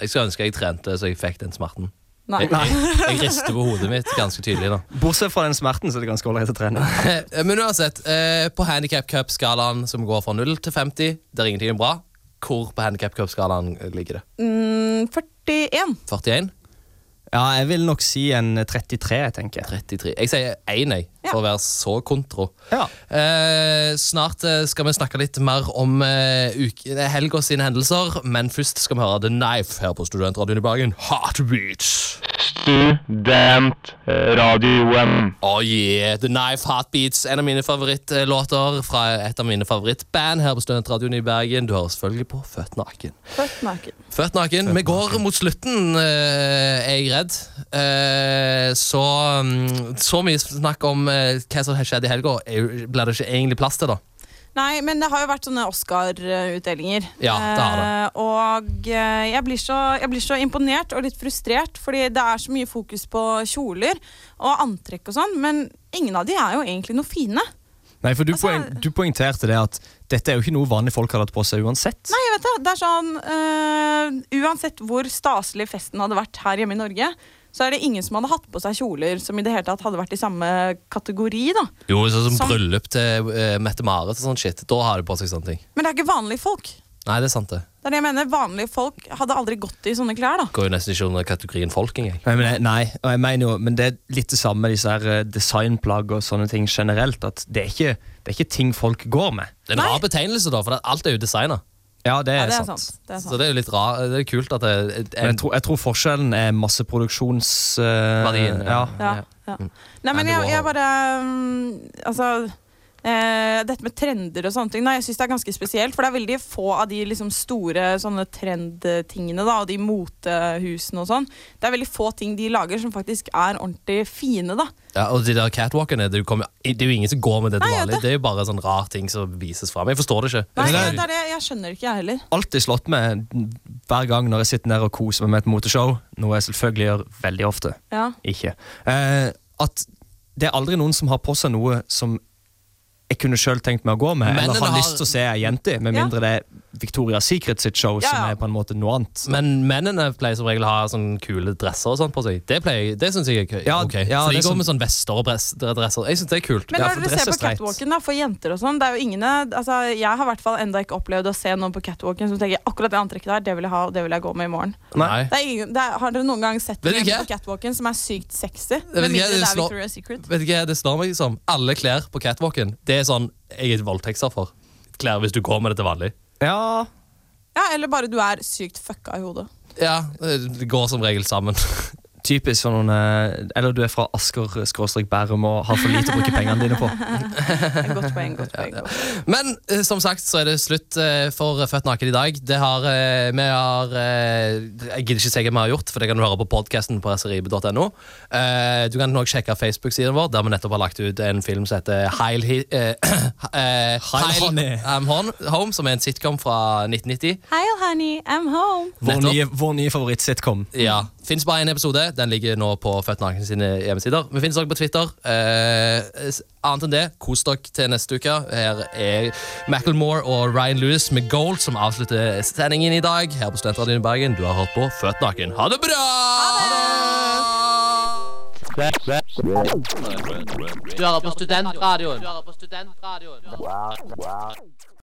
[SPEAKER 1] Jeg skulle ønske jeg trente så jeg fikk den smerten.
[SPEAKER 2] Nei.
[SPEAKER 1] Jeg, jeg, jeg rister på hodet mitt ganske tydelig nå.
[SPEAKER 3] Bortsett fra den smerten, så er det ganske ålreit å trene.
[SPEAKER 1] Eh, Men uansett, eh, på Handicap Cup-skalaen som går fra 0 til 50, der ingenting er bra, hvor på Handicap Cup-skalaen ligger det?
[SPEAKER 2] Mm, 41.
[SPEAKER 1] 41?
[SPEAKER 3] Ja, jeg vil nok si en 33, jeg tenker jeg.
[SPEAKER 1] 33. Jeg sier 1, jeg, for å være så kontro.
[SPEAKER 3] Ja.
[SPEAKER 1] Eh, snart eh, skal vi snakke litt mer om eh, uke- eh, helga sine hendelser, men først skal vi høre The Knife her på Studentradioen i Bergen. Heartbeats.
[SPEAKER 10] Studentradioen.
[SPEAKER 1] Oh yeah, The Knife Heartbeats, en av mine favorittlåter fra et av mine favorittband her på Studentradioen i Bergen. Du hører selvfølgelig på Født naken.
[SPEAKER 2] Født naken.
[SPEAKER 1] Født naken. Vi går mot slutten, eh, er jeg redd. Eh, så, mm, så mye snakk om eh, hva som har skjedd i helga, er jo- blir det ikke egentlig plass til, da.
[SPEAKER 2] Nei, men det har jo vært sånne Oscar-utdelinger.
[SPEAKER 1] Ja, det har det.
[SPEAKER 2] Eh, og eh, jeg blir, så, jeg blir så imponert og litt frustrert, fordi det er så mye fokus på kjoler og antrekk og sånn, men ingen av de er jo egentlig noe fine.
[SPEAKER 3] Nei, for du,
[SPEAKER 2] Altså-
[SPEAKER 3] poeng, du poengterte det at dette er jo ikke noe vanlige folk hadde hatt på seg uansett.
[SPEAKER 2] Nei, jeg vet det. Det er sånn eh, Uansett hvor staselig festen hadde vært her hjemme i Norge, så er det ingen som hadde hatt på seg kjoler som i det hele tatt hadde vært i samme kategori, da.
[SPEAKER 1] Jo, sånn som
[SPEAKER 2] Som-
[SPEAKER 1] bryllup til eh, Mette-Marit og sånn shit. Da har de på seg sånne ting.
[SPEAKER 2] Men det er ikke vanlige folk.
[SPEAKER 1] Nei, det er sant, det.
[SPEAKER 2] Det er det jeg mener. Vanlige folk hadde aldri gått i sånne klær, da.
[SPEAKER 1] Går jo nesten ikke under kategorien folk, engang.
[SPEAKER 3] Nei, men, jeg- nei, og jeg mener jo, men det er litt det samme med disse her eh, designplagg og sånne ting generelt. At det er ikke, det er ikke ting folk går med.
[SPEAKER 1] Det er en rar betegnelse, da, for det- alt er jo designa.
[SPEAKER 3] Ja, det er,
[SPEAKER 2] Ja, det er
[SPEAKER 3] sant.
[SPEAKER 2] sant. Det er sant.
[SPEAKER 1] Så det er jo litt rar, det er kult at det er
[SPEAKER 3] Men
[SPEAKER 1] en
[SPEAKER 3] jeg tror, jeg tror forskjellen er masseproduksjons... eh,
[SPEAKER 1] Verdien, ja.
[SPEAKER 3] ja. Mm.
[SPEAKER 2] Ja, ja. Nei, men
[SPEAKER 1] Andy
[SPEAKER 2] jeg, jeg
[SPEAKER 1] Warhol.
[SPEAKER 2] bare mm, Altså eh, dette med trender og sånne ting Nei, jeg synes det er ganske spesielt For det er veldig få av de liksom, store Sånne trendtingene da Og de motehusene og sånn Det er veldig få ting de lager som faktisk er ordentlig fine da
[SPEAKER 1] Ja, og de der catwalkene, det, kommer, det er jo ingen som går med det til
[SPEAKER 2] Nei, ja,
[SPEAKER 1] vanlig.
[SPEAKER 2] det-
[SPEAKER 1] Det er jo bare sånn rar ting som vises fram. Jeg forstår det ikke.
[SPEAKER 2] Nei,
[SPEAKER 1] Jeg
[SPEAKER 2] det
[SPEAKER 1] forstår
[SPEAKER 2] er
[SPEAKER 1] det ikke.
[SPEAKER 2] det, jeg skjønner ikke jeg heller
[SPEAKER 3] Alltid slått meg hver gang når jeg sitter ned og koser meg med et moteshow, noe jeg selvfølgelig gjør veldig ofte.
[SPEAKER 2] ja.
[SPEAKER 3] Ikke. Eh, at det er aldri noen som har på seg noe som jeg kunne selv tenkt meg å gå med,
[SPEAKER 1] Mennene
[SPEAKER 3] eller har
[SPEAKER 1] har-
[SPEAKER 3] lyst til å se ei jente i, med
[SPEAKER 2] Ja.
[SPEAKER 3] mindre det er Victoria Secret sitt show,
[SPEAKER 2] Ja,
[SPEAKER 3] som
[SPEAKER 2] ja.
[SPEAKER 3] er på en måte noe annet.
[SPEAKER 1] Men mennene pleier som regel å ha sånn kule dresser og sånn på seg. Det, pleier- det syns jeg er kø-
[SPEAKER 3] Ja,
[SPEAKER 1] ok.
[SPEAKER 3] ja,
[SPEAKER 1] For de
[SPEAKER 3] det er
[SPEAKER 1] går
[SPEAKER 3] sånn-
[SPEAKER 1] med sånn vester og dress- dresser. Jeg syns det er kult.
[SPEAKER 2] Men
[SPEAKER 3] Ja,
[SPEAKER 2] når
[SPEAKER 3] for
[SPEAKER 2] dere
[SPEAKER 3] dress
[SPEAKER 2] ser
[SPEAKER 3] er
[SPEAKER 2] på
[SPEAKER 3] streit.
[SPEAKER 2] catwalken da, for jenter og sånn Det er jo ingen, altså jeg har i hvert fall enda ikke opplevd Å se noen på catwalken som tenker Akkurat det antrekket der, det vil jeg ha, og det vil jeg gå med i morgen
[SPEAKER 1] Nei.
[SPEAKER 2] Det er ingen, det er, har dere noen gang sett
[SPEAKER 1] Vet
[SPEAKER 2] noen
[SPEAKER 1] du ikke?
[SPEAKER 2] jenter på catwalken som er sykt sexy?
[SPEAKER 1] vet
[SPEAKER 2] Med
[SPEAKER 1] ikke,
[SPEAKER 2] mindre
[SPEAKER 1] det
[SPEAKER 2] det er
[SPEAKER 1] slår-
[SPEAKER 2] Victoria's Secret.
[SPEAKER 1] Vet ikke, Det slår meg som alle klær på catwalken. Det er sånn jeg er voldtektsoffer. Klær hvis du går med det til vanlig.
[SPEAKER 3] Ja,
[SPEAKER 2] Ja, Eller bare du er sykt fucka i hodet.
[SPEAKER 1] Ja, Eh, det går som regel sammen.
[SPEAKER 3] typisk for noen eh, Eller du er fra Asker skråstrek Bærum og har for lite å bruke pengene dine på.
[SPEAKER 2] Et Godt poeng, godt poeng. godt poeng.
[SPEAKER 1] Men eh, som sagt så er det slutt eh, for Født naken i dag. Det har, eh, vi har eh, Jeg gidder ikke si hva vi har gjort, for det kan du høre på podkasten på srib.no. Eh, du kan også sjekke Facebook-siden vår, der vi nettopp har lagt ut en film som heter Heil Hi... eh, eh, Heil
[SPEAKER 3] Honey.
[SPEAKER 1] I'm Hon- Home, som er en sitcom fra 1990.
[SPEAKER 2] Heil, honey, I'm home.
[SPEAKER 3] Vår
[SPEAKER 1] Nettopp.
[SPEAKER 3] nye, vår nye favorittsitcom.
[SPEAKER 1] Ja, Fins bare én episode. Den ligger nå på Født naken sine hjemmesider. Vi finnes også på Twitter. Eh, s- annet enn det, kos dere til neste uke. Her er Macclemore og Ryan Lewis med Gold som avslutter sendingen i dag her på Studentradioen i Bergen. Du har hørt på Født naken. Ha det bra!
[SPEAKER 5] Du hører på studentradioen. Du hører på studentradioen.